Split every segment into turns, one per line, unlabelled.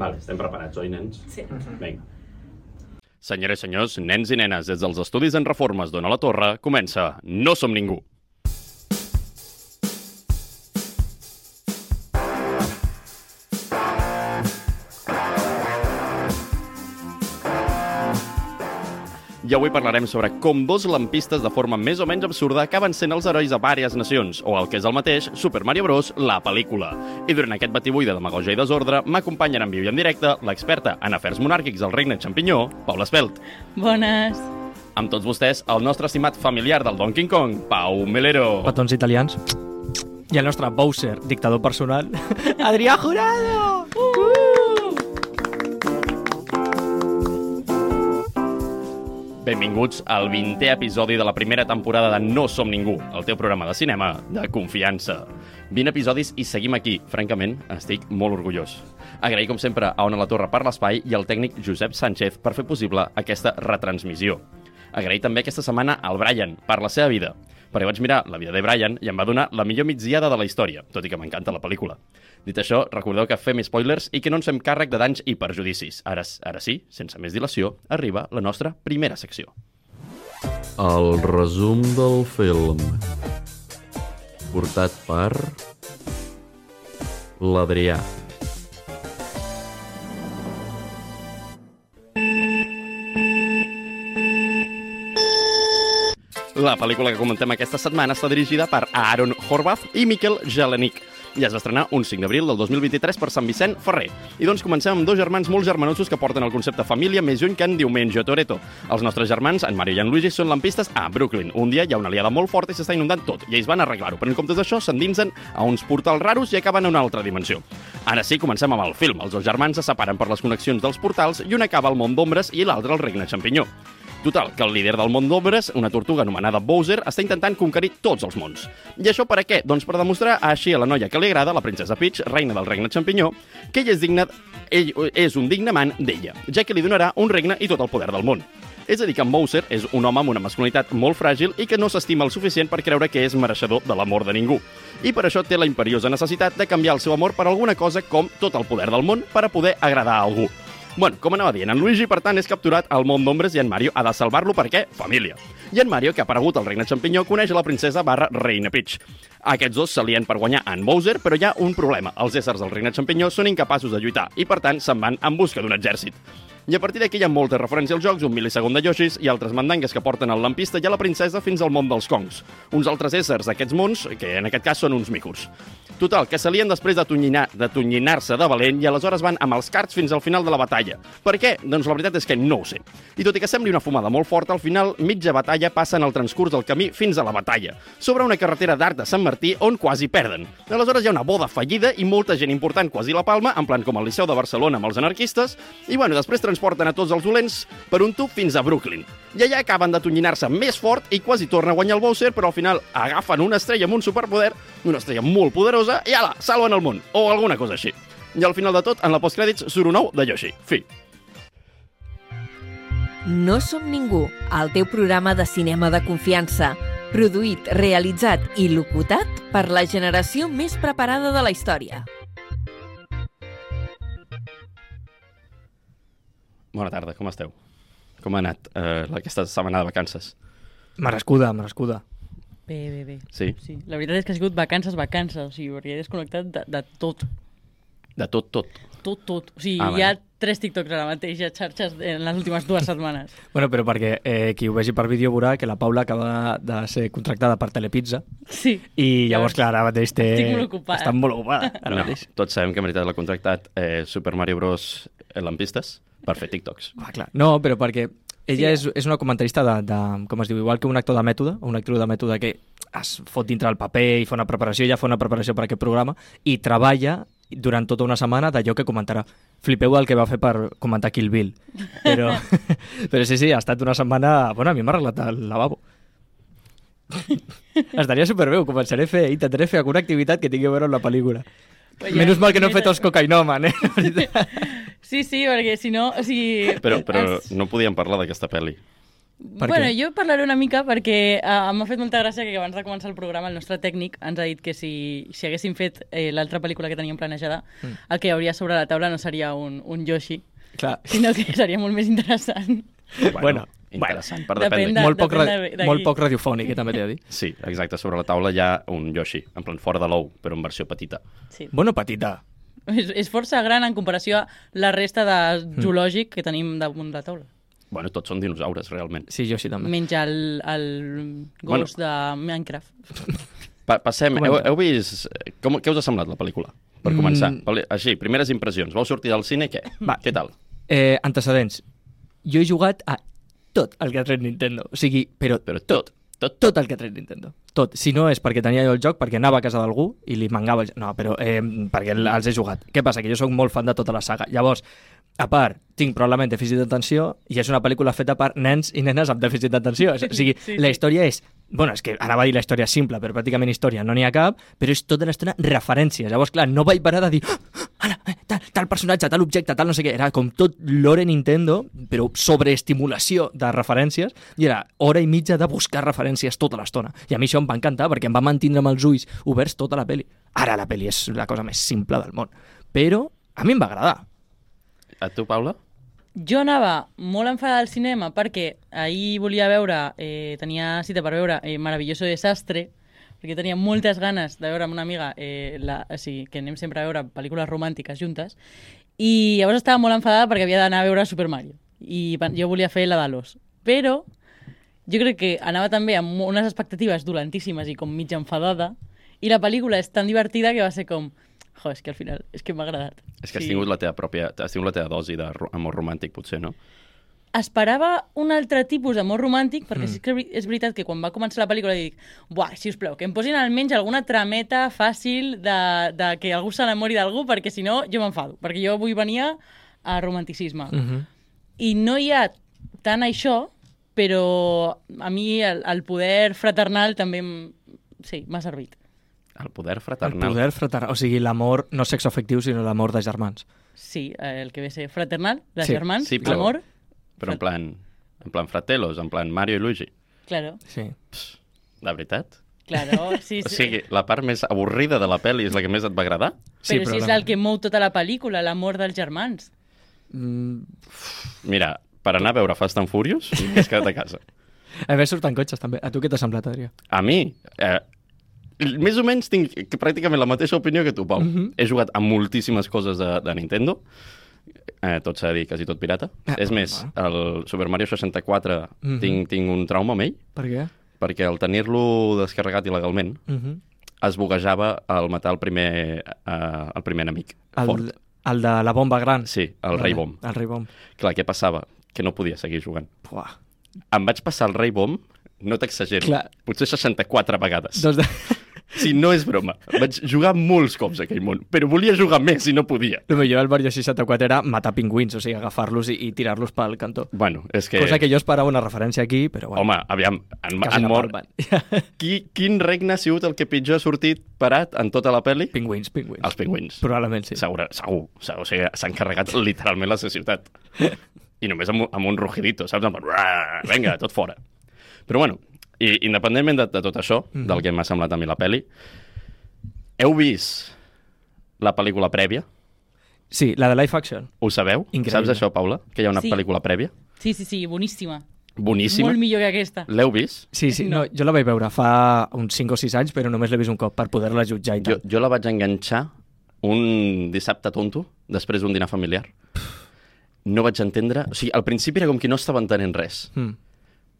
Vale, estem preparats, oi, nens?
Sí.
Mhm.
Vinga.
Senyores i senyors, nens i nenes, des dels Estudis en Reformes d'Ona la Torre, comença No som ningú. I avui parlarem sobre com dos lampistes de forma més o menys absurda acaben sent els herois de vàries nacions, o el que és el mateix, Super Mario Bros, la pel·lícula. I durant aquest batibull de demagogia i desordre m'acompanyen en viu i en directe l'experta en afers monàrquics del regne xampinyó, Paula Espelt.
Bones.
Amb tots vostès, el nostre estimat familiar del Donkey Kong, Pau Melero.
Petons italians. I el nostre Bowser, dictador personal, Adrià Jurado! Uh!
Benvinguts al 20è episodi de la primera temporada de No Som Ningú, el teu programa de cinema de confiança. 20 episodis i seguim aquí. Francament, estic molt orgullós. Agrair, com sempre, a Ona la Torre per l'espai i al tècnic Josep Sánchez per fer possible aquesta retransmissió. Agrair també aquesta setmana al Brian per la seva vida, perquè vaig mirar la vida de Brian i em va donar la millor migdiada de la història, tot i que m'encanta la pel·lícula. Dit això, recordeu que fem spoilers i que no ens fem càrrec de danys i perjudicis. Ara, ara sí, sense més dilació, arriba la nostra primera secció.
El resum del film portat per l'Adrià.
La pel·lícula que comentem aquesta setmana està dirigida per Aaron Horvath i Miquel Jelenik i es va estrenar un 5 d'abril del 2023 per Sant Vicent Ferrer. I doncs comencem amb dos germans molt germanosos que porten el concepte família més lluny que en Diumenge a Toreto. Els nostres germans, en Mario i en Luigi, són lampistes a Brooklyn. Un dia hi ha una aliada molt forta i s'està inundant tot, i ells van arreglar-ho, però en comptes d'això s'endinsen a uns portals raros i acaben a una altra dimensió. Ara sí, comencem amb el film. Els dos germans se separen per les connexions dels portals i un acaba al món d'ombres i l'altre al regne xampinyó. Total, que el líder del món d'ombres, una tortuga anomenada Bowser, està intentant conquerir tots els mons. I això per a què? Doncs per demostrar així a la noia que li agrada, la princesa Peach, reina del regne xampinyó, que ell és, digne, ell és un digne amant d'ella, ja que li donarà un regne i tot el poder del món. És a dir, que en Bowser és un home amb una masculinitat molt fràgil i que no s'estima el suficient per creure que és mereixedor de l'amor de ningú. I per això té la imperiosa necessitat de canviar el seu amor per alguna cosa com tot el poder del món per a poder agradar a algú. Bueno, com anava dient, en Luigi, per tant, és capturat al món d'ombres i en Mario ha de salvar-lo perquè família. I en Mario, que ha aparegut al regne xampinyó, coneix la princesa barra reina Peach. Aquests dos s'alien per guanyar en Bowser, però hi ha un problema. Els éssers del regne xampinyó són incapaços de lluitar i, per tant, se'n van en busca d'un exèrcit. I a partir d'aquí hi ha moltes referències als jocs, un mil·lisegon de Yoshis i altres mandangues que porten el lampista i a la princesa fins al món dels Kongs. Uns altres éssers d'aquests mons, que en aquest cas són uns micos. Total, que s'alien després d'atonyinar-se de, tonyinar, de, de valent i aleshores van amb els cards fins al final de la batalla. Per què? Doncs la veritat és que no ho sé. I tot i que sembli una fumada molt forta, al final mitja batalla passa en el transcurs del camí fins a la batalla, sobre una carretera d'art de Sant Martí on quasi perden. Aleshores hi ha una boda fallida i molta gent important quasi la palma, en plan com el Liceu de Barcelona amb els anarquistes, i bueno, després transporten a tots els dolents per un tub fins a Brooklyn. I allà acaben d'atonyinar-se més fort i quasi torna a guanyar el Bowser, però al final agafen una estrella amb un superpoder, una estrella molt poderosa, i ala, salven el món, o alguna cosa així. I al final de tot, en la postcrèdits, surt un ou de Yoshi. Fi.
No som ningú, el teu programa de cinema de confiança. Produït, realitzat i locutat per la generació més preparada de la història.
Bona tarda, com esteu? Com ha anat eh, aquesta setmana de vacances?
Merescuda, merescuda.
Bé, bé, bé.
Sí?
sí. La veritat és que ha sigut vacances, vacances. O sigui, perquè he desconnectat de, de tot.
De tot, tot.
Tot, tot. O sigui,
Ah,
ah,
vale.
hi ha tres TikToks ara mateix a xarxes en les últimes dues setmanes.
Bueno, però perquè eh, qui ho vegi per vídeo veurà que la Paula acaba de ser contractada per Telepizza
Sí.
i llavors,
Llavors,
clar, ara mateix té...
estic molt ocupada.
Està molt ocupada, ara mateix.
tots sabem que en veritat l'ha contractat eh, Super Mario Bros. eh, lampistes per fer TikToks.
Va, Ah, clar. No, però perquè ella és, és una comentarista de, de, com es diu, igual que un actor de mètode, o una actriu de mètode que es fot dintre el paper i fa una preparació, ella fa una preparació per aquest programa i treballa durant tota una setmana d'allò que comentarà. Flipeu el que va fer per comentar Kill Bill. Però, però sí, sí, ha estat una setmana... Bueno, a mi m'ha arreglat el lavabo. Estaria superbé, ho començaré a fer, eh? intentaré fer alguna activitat que tingui a veure amb la pel·lícula.
Oye,
Menys mal que no he fet
mira.
els cocainoman, eh? La veritat.
Sí, sí, perquè si no... O sigui,
Però, però
ens-
no podíem parlar d'aquesta pel·li.
Per
bueno,
què?
jo parlaré una mica perquè uh, m'ha fet molta gràcia que abans de començar el programa el nostre tècnic ens ha dit que si, si haguéssim fet eh, l'altra pel·lícula que teníem planejada, mm. el que hi hauria sobre la taula no seria un, un Yoshi,
Clar.
sinó que seria molt més interessant.
Bueno,
interessant, per
depèn
dependre.
de-
molt, poc
depèn
ra-
de- de
molt
qui.
poc radiofònic, eh, també t'he de dir.
Sí, exacte, sobre la taula hi ha un Yoshi, en plan fora de l'ou, però en versió petita.
Sí.
Bueno, petita.
És, és força gran en comparació a la resta de zoològic que tenim damunt de la taula.
Bueno, tots són dinosaures, realment.
Sí, jo sí, també.
Menys el, el
Bueno.
gos bueno. de Minecraft.
Pa passem, heu,
Comenta.
heu vist... eh, Com, què us ha semblat la pel·lícula? Per començar, mm. així, primeres impressions. Vau sortir del cine, què?
Va.
Què tal?
Eh, antecedents. Jo he jugat a tot el que ha tret Nintendo. O sigui, però,
Però tot, tot, tot.
tot el que ha tret Nintendo. Tot. Si no és perquè tenia jo el joc, perquè anava a casa d'algú i li mangava el joc. No, però eh, perquè el- els he jugat. Què passa? Que jo sóc molt fan de tota la saga. Llavors, a part, tinc probablement dèficit d'atenció i és una pel·lícula feta per nens i nenes amb dèficit d'atenció. O sigui, sí,
Sí,
sí. la
sí.
història és... Bueno, és que anava a dir la història simple, però pràcticament història no n'hi ha cap, però és tota l'estona referències. Llavors, clar, no vaig parar de dir "Ah, ara, eh, tal, tal personatge, tal objecte, tal no sé què. Era com tot l'hora Nintendo, però sobreestimulació de referències, i era hora i mitja de buscar referències tota l'estona. I a mi això em va encantar, perquè em va mantindre amb els ulls oberts tota la peli. Ara la peli és la cosa més simple del món. Però a mi em va agradar.
A tu, Paula?
Jo anava molt enfadada al cinema perquè ahir volia veure, eh, tenia cita per veure eh, Maravilloso Desastre, perquè tenia moltes ganes de veure amb una amiga, eh, la, o sigui, que anem sempre a veure pel·lícules romàntiques juntes, i llavors estava molt enfadada perquè havia d'anar a veure Super Mario. I pen- jo volia fer la de l'os. Però jo crec que anava també amb unes expectatives dolentíssimes i com mig enfadada, i la pel·lícula és tan divertida que va ser com... Jo, és que al final, és que m'ha agradat.
És que has tingut la teva pròpia... Has tingut la teva dosi d'amor romàntic, potser, no?
esperava un altre tipus d'amor romàntic, perquè mm. és, que és veritat que quan va començar la pel·lícula dic, buah, si us plau, que em posin almenys alguna trameta fàcil de, de que algú s'enamori d'algú, perquè si no jo m'enfado, perquè jo avui venia a romanticisme. Mm
Mhm.
i no hi ha tant això, però a mi el, el poder fraternal també em- sí, m'ha servit.
El poder
El
fraternal.
poder fraternal, o sigui, l'amor no sexoafectiu, sinó l'amor de germans.
Sí, eh, el que ve a ser fraternal, de
Sí,
sí, germans,
sí,
sí,
però-
amor,
Però en plan, en plan fratelos, en plan Mario i Luigi.
claro,
Sí.
La veritat?
claro, sí, sí.
O sigui, la part més avorrida de la pel·li és la que més et va agradar?
Sí,
però si és
probablement.
el que mou tota la pel·lícula, l'amor dels germans.
Mm,
Mira, per anar a veure Fast and Furious, m'has quedat a casa.
a més, surten cotxes, també. A tu què t'ha semblat, Adrià?
A mi, eh, més o menys tinc que pràcticament la mateixa opinió que tu, Pau. Mm
Mhm.
-hmm. He jugat a moltíssimes coses de, de Nintendo, eh, tot s'ha de dir, quasi tot pirata.
Ah,
És més, el Super Mario 64
Mhm.
tinc, tinc un trauma amb ell,
Per què?
perquè al tenir-lo descarregat il·legalment
Uh -huh.
es buguejava al matar el primer, eh, el primer enemic.
el,
Fort.
el de la bomba gran.
Sí, el vale.
Vale,
Rei Bomb.
El rei bomb.
Clar, què passava? Que no podia seguir jugant.
Puah.
Em vaig passar el Rei Bomb, no t'exagero,
Clar.
potser 64 vegades.
Doncs de...
Sí, no és broma. Vaig jugar molts cops a aquell món, però volia jugar més i no podia.
El millor del Mario 64 era matar pingüins, o sigui, agafar-los i, i tirar-los pel cantó.
Bueno, és que...
Que... Cosa que jo esperava una referència aquí, però bueno.
Home, aviam, han,
quasi
han
no
mort...
parlen.
Qui, quin regne ha sigut el que pitjor ha sortit parat en tota la pel·li?
pingüins, pingüins.
Els pingüins.
Probablement sí.
Segur, segur. segur o sigui, s'han carregat literalment la seva ciutat. I només amb, un- amb un rugidito, saps? Amb... "Ruah, Vinga, tot fora. Però bueno, i, independentment de, de tot això, mm -hmm. del que m'ha semblat a mi la pel·li, heu vist la pel·lícula prèvia?
Sí, la de Life Action.
Ho sabeu?
Increïble.
Saps això, Paula? Que hi ha una
Sí.
pel·lícula prèvia?
Sí, sí, sí, boníssima.
Boníssima.
Molt millor que aquesta.
L'heu vist?
Sí, sí, no. no, jo la vaig veure fa uns 5 o 6 anys, però només l'he vist un cop per poder-la jutjar i
Jo,
tal.
jo la vaig enganxar un dissabte tonto, després d'un dinar familiar. No vaig entendre... O sigui, al principi era com que no estava entenent res.
Jo... Mm.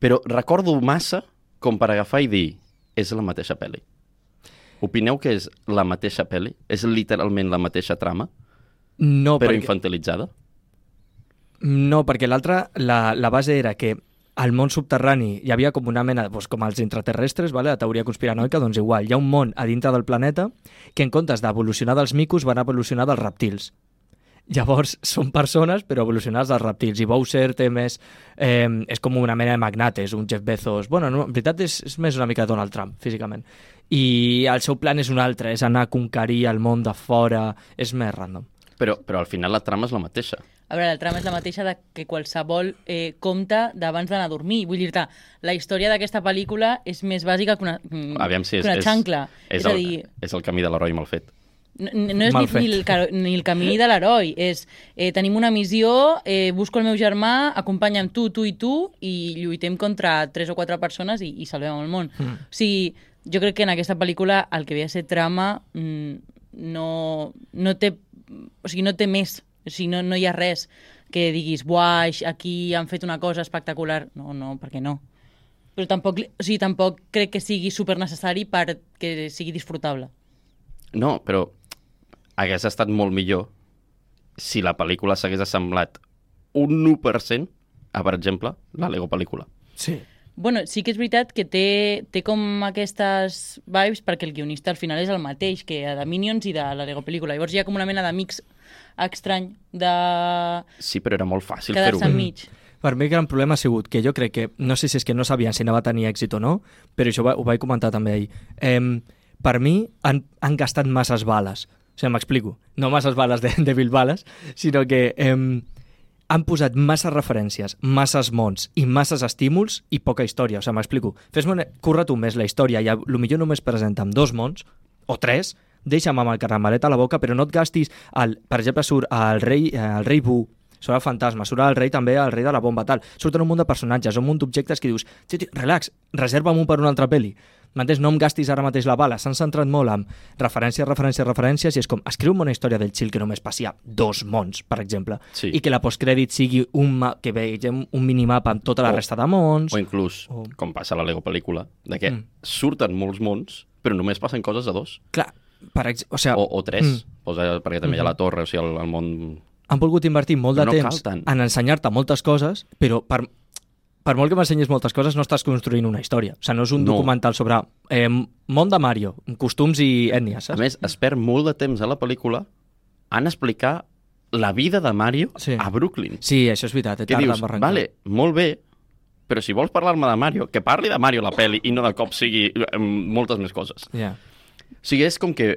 Però recordo massa com per agafar i dir és la mateixa pel·li. Opineu que és la mateixa pel·li? És literalment la mateixa trama,
No,
però
perquè-
infantilitzada?
No, perquè l'altra, la, la base era que al món subterrani hi havia com una mena, doncs, com els intraterrestres, vale? la teoria conspiranoica, doncs igual, hi ha un món a dintre del planeta que en comptes d'evolucionar dels micos van evolucionar dels reptils. Llavors, són persones, però evolucionades dels reptils. I Bowser té més... Eh, és com una mena de magnat, és un Jeff Bezos... Bueno, no, en veritat és, és més una mica Donald Trump, físicament. I el seu plan és un altre, és anar a conquerir el món de fora... És més random.
Però, però al final la trama és la mateixa.
A veure, el trama és la mateixa de que qualsevol eh, compte d'abans d'anar a dormir. Vull dir-te, la història d'aquesta pel·lícula és més bàsica que una, mm,
Aviam si és,
que una
és,
xancla.
És,
és a
el,
dir,
és el camí de l'heroi mal fet.
No, no és
Mal
ni, ni, el, ca- ni el camí de l'heroi, és eh, tenim una missió, eh, busco el meu germà, acompanya'm tu, tu i tu, i lluitem contra tres o quatre persones i, i salvem el món. Mm. O sigui, jo crec que en aquesta pel·lícula el que ve a ser trama mm, no, no té... O sigui, no té més. O sigui, no, no hi ha res que diguis, buah, aix- aquí han fet una cosa espectacular. No, no, perquè no. Però tampoc, li- o sigui, tampoc crec que sigui supernecessari perquè sigui disfrutable.
No, però hagués estat molt millor si la pel·lícula s'hagués assemblat un 1% a, per exemple, la Lego pel·lícula.
Sí.
Bueno, sí que és veritat que té, té com aquestes vibes perquè el guionista al final és el mateix que de Minions i de la Lego pel·lícula. Llavors hi ha com una mena de mix estrany de
Sí, però era molt fàcil fer-ho.
quedar-se
bé.
enmig.
Per mi el gran problema ha sigut que jo crec que, no sé si és que no sabien si anava a tenir èxit o no, però això ho va- ho vaig comentar també ahir. Eh, per mi han, han gastat masses bales. O sigui, m'explico. No masses bales de, de Bill Bales, sinó que eh, han posat masses referències, masses mons i masses estímuls i poca història. O sigui, m'explico. Fes-me una... Corre tu més la història i a lo millor només presenta'm dos mons o tres, deixa'm amb el caramelet a la boca, però no et gastis... El, per exemple, surt el rei, eh, el rei Boo, surt el fantasma, surt el rei també, el rei de la bomba, tal. Surten un munt de personatges, un munt d'objectes que dius, tio, tio, relax, reserva'm un per una altra pel·li. M'entens? No em gastis ara mateix la bala. S'han centrat molt en referències, referències, referències, i és com, escriu una història del Chill que només passi a dos mons, per exemple.
Sí.
I que la postcrèdit sigui un ma... que veiem un minimapa amb tota la
O-
resta de mons.
O inclús,
O-
com passa a la Lego pel·lícula, de que
Mm.
surten molts mons, però només passen coses a dos.
Clar, per ex... o, sigui,
O, o tres,
Mm. Mm-hmm.
mm. Posa, perquè també hi ha la torre, o sigui, el, el món...
han volgut invertir molt de
No cal
temps
tant.
en ensenyar-te moltes coses, però per, per molt que m'ensenyis moltes coses, no estàs construint una història. O sigui, no és un
No.
no. documental sobre eh, món de Mario, costums i ètnies,
A
saps?
més, es perd molt de temps a la pel·lícula en explicar la vida de Mario
Sí.
sí. a Brooklyn.
Sí, això és veritat, he
que
tardat
dius,
en arrencar.
vale, molt bé, però si vols parlar-me de Mario, que parli de Mario la peli i no de cop sigui eh, moltes més coses.
Yeah.
O sigui, és com que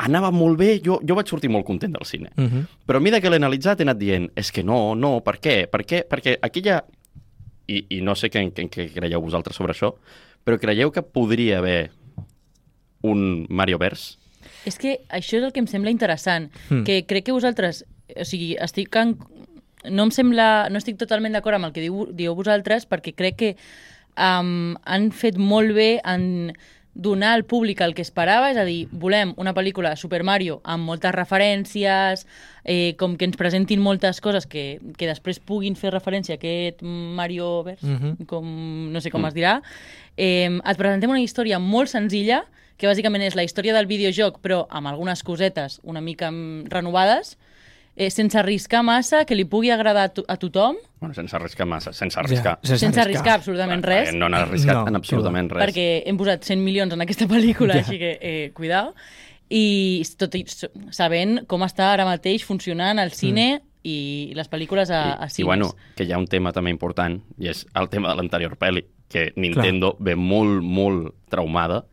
anava molt bé, jo, jo vaig sortir molt content del cine.
Mm -hmm.
Però a mida que l'he analitzat he anat dient, és que no, no, per què? Per què? Perquè aquí hi ha... I, i no sé què, què, què creieu vosaltres sobre això, però creieu que podria haver un Mario Verse?
És que això és el que em sembla interessant,
Mm.
mm. que crec que vosaltres, o sigui, estic en... no em sembla, no estic totalment d'acord amb el que diu, dieu vosaltres perquè crec que um, han fet molt bé en donar al públic el que esperava, és a dir, volem una pel·lícula de Super Mario amb moltes referències, eh, com que ens presentin moltes coses que, que després puguin fer referència a aquest Mario Verse,
Mhm.
com, no sé
Mm.
com es dirà, eh, et presentem una història molt senzilla, que bàsicament és la història del videojoc, però amb algunes cosetes una mica mm, renovades, eh, sense arriscar massa, que li pugui agradar a, to a tothom,
Bueno, sense arriscar massa, sense arriscar. eh,
sense,
sense arriscar absolutament res,
No n'ha arriscat
No,
no, en absolutament res.
perquè hem posat 100 milions en aquesta pel·lícula,
Ja.
yeah. així que eh, cuidao, i tot i s- sabent com està ara mateix funcionant el cine mm. i les pel·lícules a, a
I,
cines.
I bueno, que hi ha un tema també important, i és el tema de l'anterior pel·li, que Nintendo Clar. ve molt, molt traumada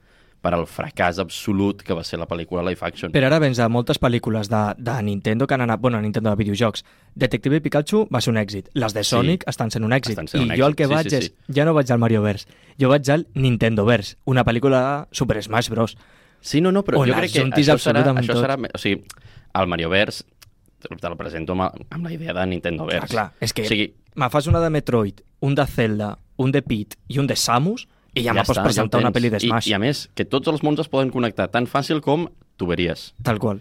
per al fracàs absolut que va ser la pel·lícula Life Action.
Però ara vens de moltes pel·lícules de, de Nintendo que han anat... Bueno, Nintendo de videojocs. Detective Pikachu va ser un èxit. Les de Sonic sí. estan sent un èxit.
Estan sent
I
un
jo el
èxit,
que
sí,
vaig
sí,
és...
sí.
Jo no vaig al Mario Verse, jo vaig al Nintendo Verse, una pel·lícula de Super Smash Bros. Ah,
Sí, no, no, però
On
jo crec que
ajuntis
això serà,
absolutament
això
tot.
serà... me- O sigui, el Marioverse te el presento amb, amb la idea de Nintendo Verse.
Ah, clar, és que
O sigui,
me fas una de Metroid, un de Zelda, un de Pit i un de Samus i ja, ja me pots
està, ho
presentar una
tens.
pel·li de Smash.
I, I a més, que tots els mons es poden connectar tan fàcil com tuberies.
Tal qual.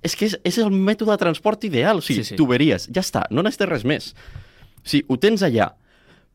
És que és, és el mètode de transport ideal. O sigui,
Sí,
sí, sí.
sí.
tuberies, ja està, no necessites res més. O sigui, ho tens allà,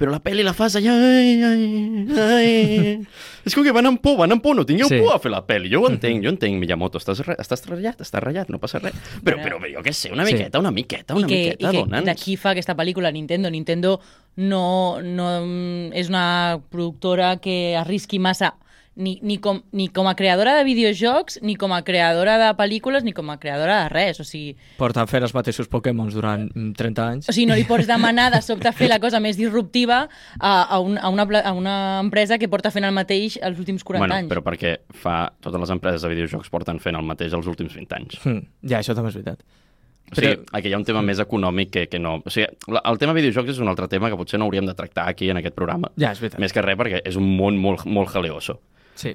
però la pel·li la fas allà... Ai, ai, ai. és com que van amb por, van amb por, no tingueu
Sí. Mhm.
sí. por a fer la pel·li. Jo ho entenc, jo entenc, Miyamoto, estàs, re, estàs ratllat, estàs ratllat, no passa res. Però,
Bueno.
però jo què sé, una
Sí.
miqueta, una miqueta,
I
una
que, i
miqueta,
que
dona'ns.
d'aquí fa aquesta pel·lícula Nintendo. Nintendo no, no mm, és una productora que arrisqui massa ni, ni, com, ni com a creadora de videojocs, ni com a creadora de pel·lícules, ni com a creadora de res. O sigui,
Porten fent els mateixos Pokémons durant mm, 30 anys.
o sigui no li pots demanar de sobte fer la cosa més disruptiva a, a, un, a, una, pla- a una empresa que porta fent el mateix els últims 40
bueno,
anys.
però perquè fa... Totes les empreses de videojocs porten fent el mateix els últims 20 anys.
Mm, ja, això Hm, també és veritat.
Però...
Però- Mm.
Sí, aquí hi ha un tema més econòmic que, que no... O sigui, la- el tema videojocs és un altre tema que potser no hauríem de tractar aquí en aquest programa.
Ja, és veritat.
Més que res perquè és un món molt, molt jaleoso.
Sí.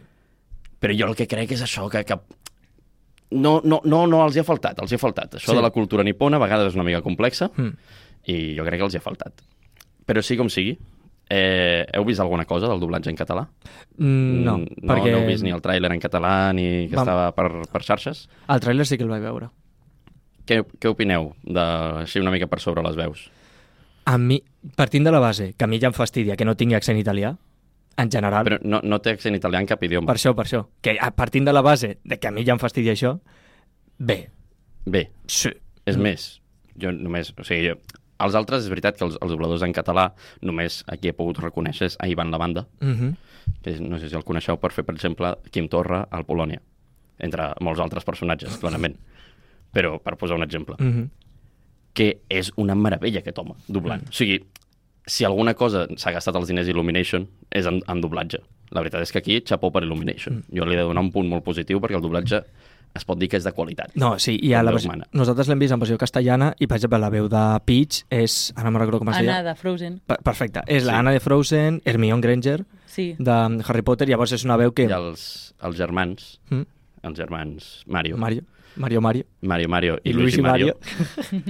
Però jo el que crec és això, que, que no, no, no, no els hi ha faltat, els hi ha faltat. Això
Sí.
sí. de la cultura nipona a vegades és una mica complexa
Mm.
i jo crec que els hi ha faltat. Però sí com sigui, eh, heu vist alguna cosa del doblatge en català?
Mm, No,
Mm, no,
perquè
no heu vist ni el tràiler en català ni que
Vam-
estava per, per xarxes?
el tràiler sí que el vaig veure.
Què, què opineu, de, així una mica per sobre les veus?
A mi, partint de la base, que a mi ja em fastidia que no tingui accent italià, en general,
Però no, no té accent italià en cap idioma.
per això, per això, que a- partint de la base de que a mi ja em fastidia això, bé,
Bé,
sí,
és més, jo només... O sigui, jo, els altres, és veritat que els, els dobladors en català només aquí he pogut reconèixer és a Ivan Lavanda,
mm -hmm.
que és- no sé si el coneixeu per fer, per exemple, Quim Torra al Polònia, entre molts altres personatges, clarament. Però, per posar un exemple,
Mm -hmm.
que és una meravella aquest home, doblant. O sigui, si alguna cosa s'ha gastat els diners Illumination és en, en doblatge. La veritat és que aquí, xapó per Illumination. Jo li he de donar un punt molt positiu perquè el doblatge es pot dir que és de qualitat.
No, sí, i a la
Déu
versió...
mana.
Nosaltres l'hem vist en versió castellana i, per exemple, la veu de Peach és... Ara no me'n recordo com es
Anna
deia.
de Frozen.
Per- Perfecte. És la
Sí.
Anna de Frozen, Hermione Granger,
Sí.
de Harry Potter, llavors és una veu que...
I els, els germans,
Mm?
els germans Mario, Mario,
Mario, Mario, Mario.
Mario, Mario i, I Luigi Mario,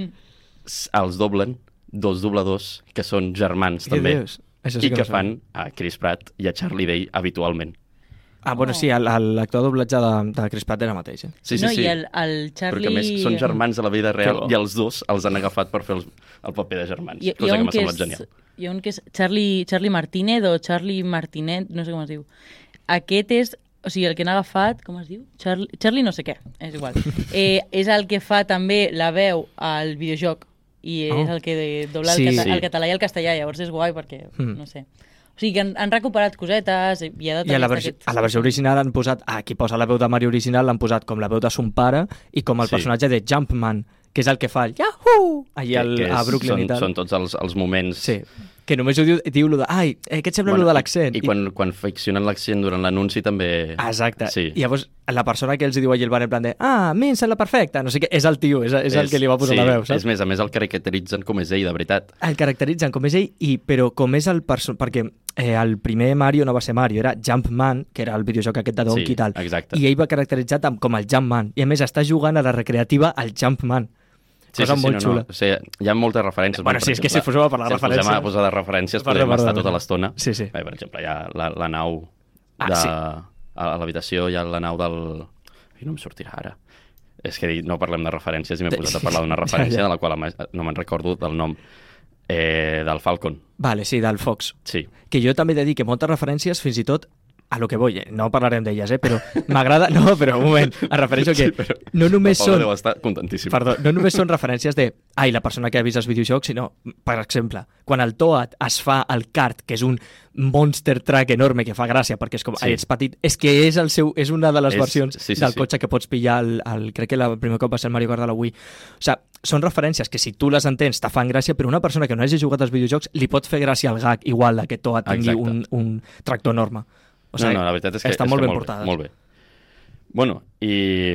s- els doblen dos dobladors que són germans
Què
també
dius? Això
i
sí
que
ho
fan
sabia.
a Chris Pratt i a Charlie Day habitualment.
Ah, bueno, sí, el- el- l'actor de doblatge de, de Chris Pratt era mateix. Eh?
Sí, sí,
no,
sí.
I el, el Charlie...
Perquè a més són germans de la vida real
Que bo.
i els dos els han agafat per fer els, el paper de germans,
Hi, hi
cosa
ha
que
un
m'ha
que
semblat
és,
genial.
hi ha un que és Charlie, Charlie Martínez o Charlie Martinet, no sé com es diu. Aquest és, o sigui, el que han agafat, com es diu? Charlie, Charlie no sé què, és igual. Eh, és el que fa també la veu al videojoc i és
Oh.
el que dobla
Sí.
el, cata
Sí.
el català i el castellà, llavors és guai perquè,
Mm.
no sé. O sigui, que han, han recuperat cosetes i hi ha
I a la, versió, a la versió original han posat, a qui posa la veu de Mario original l'han posat com la veu de son pare i com el
Sí.
sí. personatge de Jumpman, que és el que fa el Yahoo! Allà al,
Que- que
a
és-
Brooklyn
són,
i tal.
Són tots els, els moments...
Sí, que només ho diu, diu lo de, ai, eh, què et sembla bueno, lo de l'accent?
I, i quan, quan ficcionen l'accent durant l'anunci també...
Exacte.
Sí.
I llavors, la persona que els hi diu allà al bar en plan de ah, a mi em sembla perfecte, no sé què, és el tio, és, és, el que li va posar
sí,
la veu, saps?
És més, a més el caracteritzen com és ell, de veritat.
el caracteritzen com és ell, i, però com és el perso... perquè eh, el primer Mario no va ser Mario, era Jumpman, que era el videojoc aquest de Donkey
Sí,
i tal.
exacte.
I ell va caracteritzat amb, com el Jumpman. I a més està jugant a la recreativa al Jumpman.
Sí,
cosa
sí, sí,
molt
no,
xula.
No. O sigui, hi ha moltes referències.
Bueno,
Per
sí, és que
exemple,
si posem a parlar de
si ens posem
referències-
a posar de referències
Perdó,
podem
perdó,
estar
perdó.
tota l'estona.
Sí, sí.
Bé, per exemple, hi ha la, la nau
Ah,
de...
sí.
A l'habitació hi ha la nau del... Ai, no em sortirà ara. És que he dit, no parlem de referències i m'he
De-
posat a parlar d'una
Ja,
referència
ja.
de la qual a més, no me'n recordo del nom. Eh, del Falcon,
Vale, sí, del Fox.
sí.
Que jo també he de dir que moltes referències, fins i tot a lo que voy, eh? no parlarem d'elles, eh? però m'agrada... No, però un moment, em Ah, refereixo que
Sí, però-
no només
el Pablo
són...
deu estar contentíssim.
Perdó, no només són referències de ai, la persona que ha vist els videojocs, sinó, per exemple, quan el Toad es fa el kart, que és un monster truck enorme que fa gràcia perquè és com,
Sí.
sí. ai, ets petit, és que és el seu, és una de les
És-
és, versions
sí, sí,
del
sí.
cotxe que pots pillar, el, el, crec que la- el primer cop va ser el Mario Kart de la Wii. O sigui, són referències que si tu les entens te fan gràcia, però una persona que no hagi jugat als videojocs li pot fer gràcia al gag igual de que Toad tingui
Exacte.
un, un tractor enorme. O sigui,
no, no, la veritat és que
està
és
molt
que
ben portada.
Bé, molt bé. Bueno, i...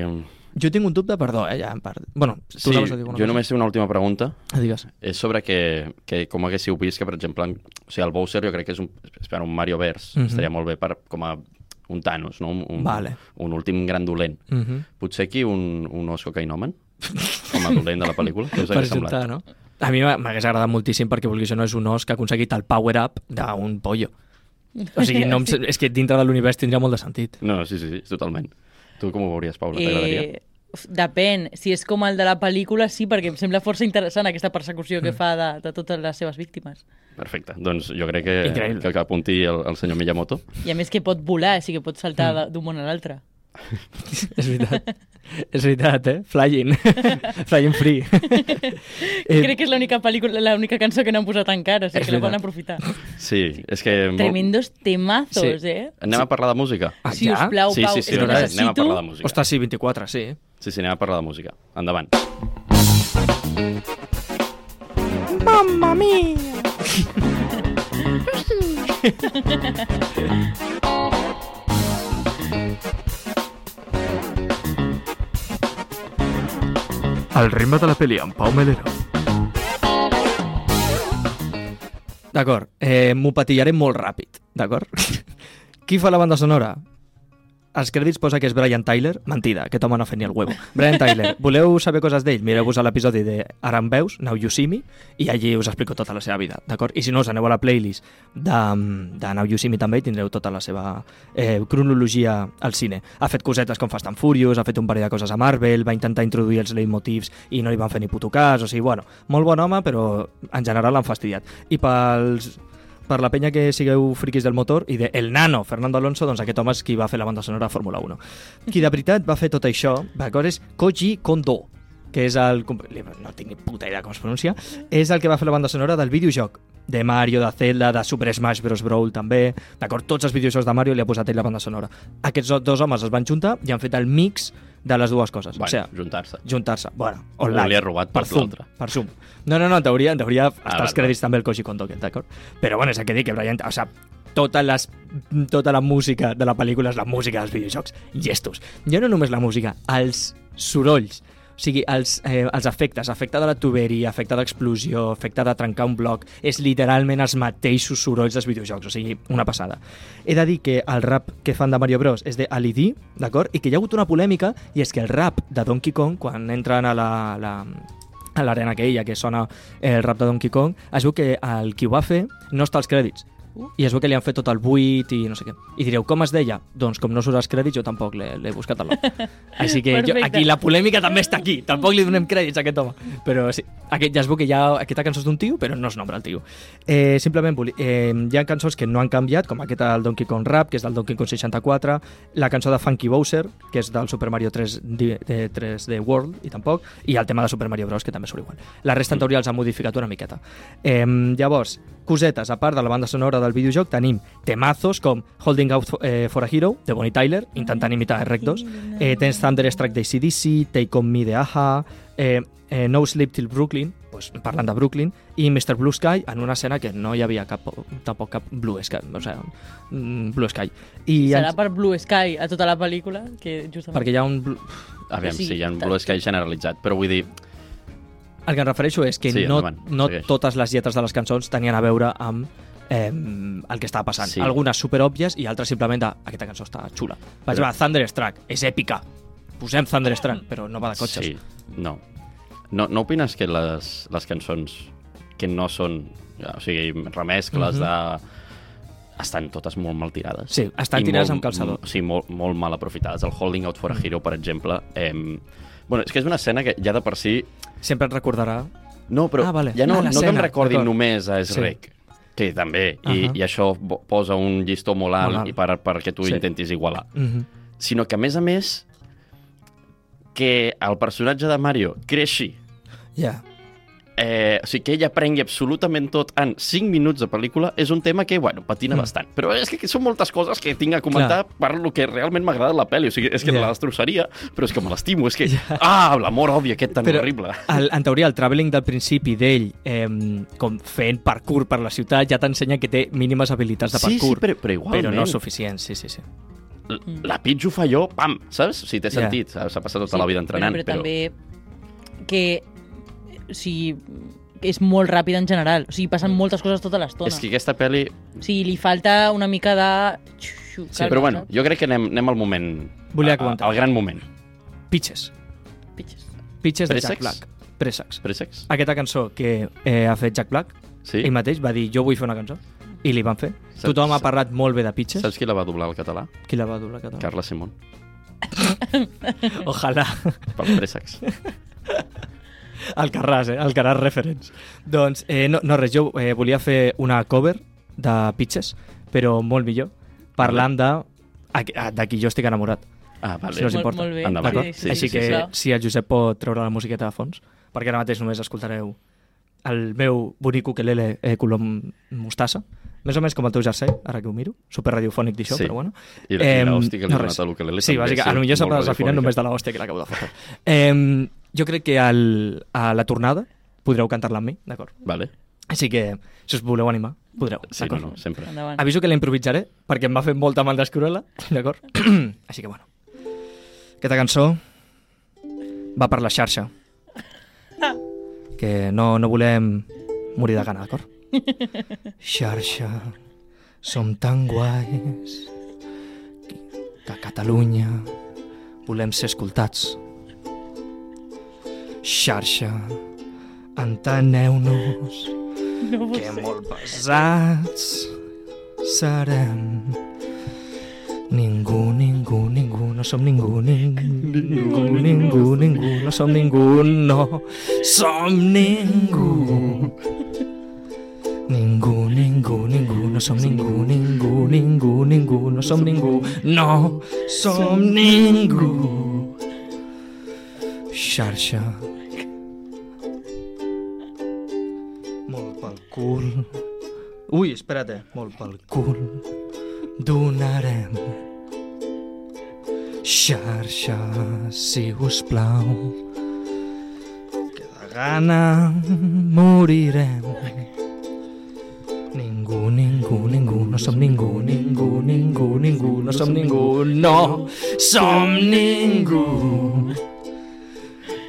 Jo tinc un dubte, perdó, eh, ja en part. Bueno, tu
Sí,
anaves a dir alguna
jo
cosa?
només sé una última pregunta.
Ah, Digues.
és sobre que, que com haguéssiu vist que, per exemple, en, o sigui, el Bowser jo crec que és un, espera, un Mario Verse, mm
Mhm.
-hmm. estaria molt bé per, com a un Thanos, no? un, un,
Vale.
un últim gran dolent.
Mhm.
Potser aquí un, un Osco Kainoman, com a dolent de la pel·lícula, que us
per
hagués semblat.
ajuntar, no? A mi m'ha- m'hagués agradat moltíssim perquè, vulguis o no, és un os que ha aconseguit el power-up d'un pollo. O sigui, no em, sem- és que dintre de l'univers tindria molt de sentit.
No, no, sí, sí, sí, totalment. Tu com ho veuries, Paula? T'agradaria?
Eh, uf, depèn, si és com el de la pel·lícula, sí, perquè em sembla força interessant aquesta persecució
Hmm.
que fa de, de totes les seves víctimes.
Perfecte. Doncs jo crec que,
Increïble.
que, que apunti el, el senyor Miyamoto.
I a més que pot volar, sí que pot
Mm.
saltar de- d'un món a l'altre.
És veritat. és veritat, eh? Flying. Flying free.
Eh, Crec que és l'única pel·lícula, l'única cançó que no han posat encara, o sigui
És
que la van
veritat.
aprofitar.
Sí, és que... molt-
Tremendos temazos,
Sí.
eh?
Anem a parlar de música?
Ah,
Si us
ja?
plau,
sí,
Pau,
sí,
és
sí,
que
anem a- anem a
necessito...
parlar de música.
Ostres, sí, 24, sí.
Sí, sí, anem a parlar de música. Endavant.
Mamma mia!
El ritme de la pel·li amb Pau Melero.
D'acord, eh, m'ho patillaré molt ràpid, d'acord? Qui fa la banda sonora? Als crèdits posa que és Brian Tyler. Mentida, aquest home no ha fet ni el huevo. Brian Tyler, voleu saber coses d'ell? Mireu-vos a l'episodi de Ara em veus, Now You See Me, i allí us explico tota la seva vida, d'acord? I si no, us aneu a la playlist de, mm, de Now You See Me també i tindreu tota la seva eh, cronologia al cine. Ha fet cosetes com Fast and Furious, ha fet un parell de coses a Marvel, va intentar introduir els leitmotivs i no li van fer ni puto cas, o sigui, bueno, molt bon home, però en general l'han fastidiat. I pels per la penya que sigueu friquis del motor i de El Nano, Fernando Alonso, doncs aquest home és qui va fer la banda sonora de Fórmula 1. Qui de veritat va fer tot això, d'acord, és Koji Kondo, que és el... comp- li- no tinc ni puta idea com es pronuncia, és el que va fer la banda sonora del videojoc de Mario, de Zelda, de Super Smash Bros. Brawl també, d'acord? Tots els videojocs de Mario li ha posat ell la banda sonora. Aquests dos homes es van juntar i han fet el mix de les dues coses.
Bueno,
o sigui,
juntar-se.
juntar-se. Bueno, online.
li ha robat
per
tot
Zoom,
l'altre.
Per Zoom. No, no, no, en teoria, en teoria ah,
val,
els crèdits també el Koji Kondo, aquest, d'acord? Però bueno, és el que dic, que Brian... O sigui, tota, les, tota la música de la pel·lícula és la música dels videojocs. Gestos. Ja no només la música, els sorolls. O sigui, els, eh, els efectes, efecte de la tuberia, efecte d'explosió, efecte de trencar un bloc, és literalment els mateixos sorolls dels videojocs, o sigui, una passada. He de dir que el rap que fan de Mario Bros és de Ali D, d'acord? I que hi ha hagut una polèmica, i és que el rap de Donkey Kong, quan entren a la, la, a l'arena aquella que sona el rap de Donkey Kong, es veu que el qui ho va fer no està als crèdits. I es veu que li han fet tot el buit i no sé què. I direu, com es deia? Doncs com no surt als crèdits, jo tampoc l'he l'he buscat a l'op. Així que jo,
Perfecte.
aquí la polèmica també està aquí. Tampoc li donem crèdits a aquest home. Però sí, aquest, ja es veu que ja, aquesta cançó és d'un tio, però no es nombra el tio. Eh, simplement, volia- eh, hi ha cançons que no han canviat, com aquesta del Donkey Kong Rap, que és del Donkey Kong 64, la cançó de Funky Bowser, que és del Super Mario 3, D, de 3D World, i tampoc, i el tema de Super Mario Bros, que també surt igual. La resta, en teoria, els ha modificat una miqueta. Eh, llavors, cosetes, a part de la banda sonora del videojoc, tenim temazos com Holding Out for, eh, for a Hero, de Bonnie Tyler, intentant imitar Rec 2, eh, tens Thunderstruck de CDC, Take On Me de Aha, eh, eh, No Sleep Till Brooklyn, pues, parlant de Brooklyn, i Mr. Blue Sky en una escena que no hi havia cap, tampoc cap Blue Sky, o sigui, mm, Blue Sky. I
Serà
ens-
per Blue Sky a tota la pel·lícula, que justament...
perquè hi ha un... blu-
Aviam,
Sí,
sí, hi ha un
tant.
Blue Sky generalitzat, però vull dir,
El que em refereixo és que
Sí,
no,
endavant,
no
segueix.
totes les lletres de les cançons tenien a veure amb eh, el que estava passant.
Sí.
Sí. Algunes superòbvies i altres simplement de, aquesta cançó està xula. Vaig,
Però-
va, Thunderstruck, és èpica. Posem Thunderstruck, però no va de cotxes.
Sí, no. No, no opines que les, les cançons que no són, o sigui, remescles mm -hmm. de... Estan totes molt mal tirades.
Mhm. Sí, estan
I
tirades
molt-
amb calçador. Mm.
mo- Sí, molt, molt mal aprofitades. El Holding Out for a Hero, per exemple, em... bueno, és que és una escena que ja de per si...
Sempre et recordarà...
No, però
Ah, vale.
ja no, no
Ah,
que em
l'escena,
recordi
d'acord.
només a
Sí.
Shrek, que també, i,
Ahà.
i això bo- posa un llistó molt alt,
Molt alt.
i per, perquè tu
Sí.
intentis igualar
Mm -hmm.
sinó que, a més a més, que el personatge de Mario creixi,
Ja.
eh, o sigui, que ell aprengui absolutament tot en 5 minuts de pel·lícula, és un tema que, bueno, patina
Mm.
mm. bastant. Però és que són moltes coses que tinc a comentar Clar. per lo que realment m'ha agradat la pel·li. O sigui, és que
Ja.
yeah. la destrossaria, però és que me l'estimo. És que, yeah. ah, l'amor odia aquest tan però...
Però-
horrible.
El, en teoria, el travelling del principi d'ell, eh, com fent parkour per la ciutat, ja t'ensenya que té mínimes habilitats de
Sí, sí,
parkour.
però, però igualment.
però no suficient, sí, sí, sí.
Mm.
La Pitju fa allò, pam, saps? O sigui, té
Ja.
sentit. saps? S'ha passat tota la vida entrenant,
Però, però, però... també que... O sigui, és molt ràpid en general. O sigui, passen moltes coses tota l'estona.
és que aquesta pel·li...
O sigui, li falta una mica de... Xiu, xiu,
Sí,
calma,
però bueno,
saps?
jo crec que anem, anem al moment...
Volia
a- a-
comentar.
Al gran moment.
Pitches.
Pitxes.
Pitches de
Préssecs?
Jack Black. Préssecs.
Préssecs?
Aquesta cançó que eh, ha fet Jack Black,
Sí.
ell mateix va dir, jo vull fer una cançó. I li van fer.
Saps-
Tothom ha
saps-
parlat molt bé de Pitches.
Saps qui la va doblar al català?
Qui la va dur la català?
Carla Simón,
Ojalà.
pels préssecs.
Alcarràs, eh? Alcarràs referents. Doncs, eh, no, no res, jo eh, volia fer una cover de Pitches, però molt millor, parlant de, a- a- de qui jo estic enamorat.
Ah, vale.
Si no us
Molt-
importa.
molt bé.
Endavant.
D'acord?
Sí, sí,
Així
sí,
que
sisplau.
si el Josep pot treure la musiqueta de fons, perquè ara mateix només escoltareu el meu bonic ukelele eh, color m- mostassa, més o menys com el teu jersei, ara que ho miro, super radiofònic
Sí.
d'això, sí. però bueno.
I la- i
Em,
l'hòstia que li ha
res.
donat a l'ukelele
Sí,
també,
bàsica,
sí,
a lo
molt
millor sabràs al
radiofònica.
final només de l'hòstia que l'acabo de fotre. Eh, jo crec que al, a la tornada podreu cantar-la amb mi, d'acord?
Vale.
Així que, si us voleu animar, podreu.
Sí, no,
d'acord?
no, sempre.
Endavant.
Aviso que la improvisaré, perquè em va fer molta mal d'escriure-la, d'acord? Així que, bueno. Aquesta cançó va per la xarxa. que no, no volem morir de gana, d'acord? Xarxa, som tan guais que a Catalunya volem ser escoltats. Xarxa, enteneu-nos
No ho
que
sé.
molt pesats serem. Ningú, ningú, ningú, no som ningú, ningú, ningú, ningú, ningú, no som ningú, no som ningú. Ningú, ningú, ningú, no som ningú, ningú, ningú, ningú, no som ningú, no som ningú. Xarxa. Molt pel cul. Ui, espérate. Molt pel cul. Donarem xarxa, si us plau. Que de gana morirem. Ningú, ningú, ningú, no som ningú, ningú, ningú, ningú, no som ningú, no som ningú.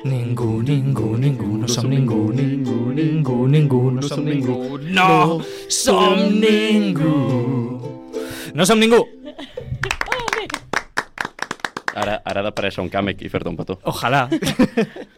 Ningú, ningú, ningú, no som ningú, ningú, ningú, ningú, no som ningú, no som ningú. No som ningú.
Ara, ara ha d'aparèixer un càmec i fer-te un petó.
Ojalà.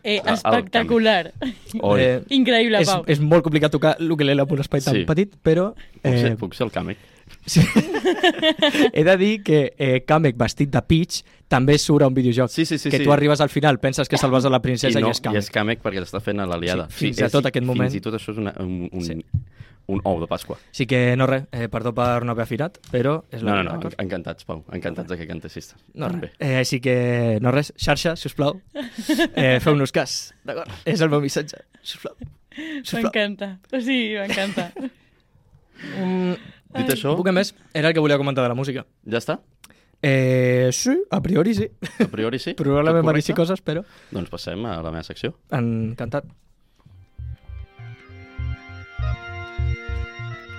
Eh,
Ah, el
espectacular.
Oi, eh,
Increïble,
és,
Pau.
és molt complicat tocar l'ukelele en un espai tan
Sí.
petit, però...
puc,
eh,
ser, puc ser el càmec?
Sí. He de dir que eh, Kamek vestit de Peach també surt a un videojoc.
Sí, sí, sí,
que
sí.
tu arribes al final, penses que salves a la princesa i,
no,
és Kamek.
I és càmec perquè l'està fent a l'aliada.
Sí, fins a tot aquest moment.
Fins i tot això és una, un, un,
Sí.
sí. un ou de Pasqua.
Sí que no res, eh, perdó per no haver afirat, però és
No,
la
no, no,
veritat,
en- encantats, Pau. Encantats de que cantessis.
No
Bé.
res. Eh, així que no res, xarxa, sisplau, eh, feu-nos cas, d'acord? És el meu missatge, sisplau. sisplau.
M'encanta. O sigui, m'encanta.
Mm,
Dit això,
puc més? Era el que volia comentar de la música.
ja està?
Eh, sí, a priori sí.
A priori sí?
Probablement
Tot
van
correcte?
així coses, però
Doncs passem a la meva secció.
encantat.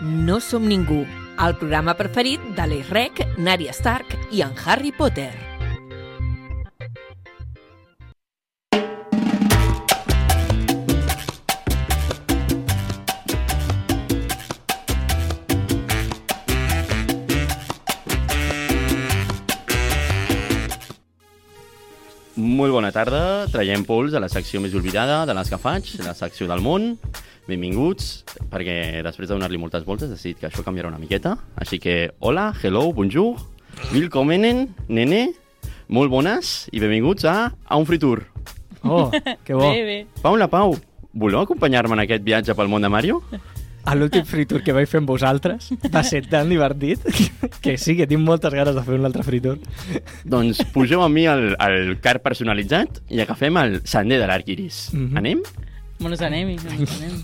No som ningú, el programa preferit de l'Eix Rec, Nària Stark i en Harry Potter.
Molt bona tarda, traiem pols a la secció més oblidada de les que faig, la secció del món. Benvinguts, perquè després de donar-li moltes voltes he decidit que això canviarà una miqueta. Així que, hola, hello, bonjour, willkommenen, nene, molt bones i benvinguts a, a un fritur.
Oh, que bo.
Bé, bé.
Pau, la Pau, voleu acompanyar-me en aquest viatge pel món de Mario?
A l'últim fritur que vaig fer amb vosaltres va ser tan divertit que sí, que tinc moltes ganes de fer un altre fritur.
doncs pugeu amb mi al, al car personalitzat i agafem el Sander de l'Arquiris.
Mhm.
Anem?
Bueno, ens anem, ens anem.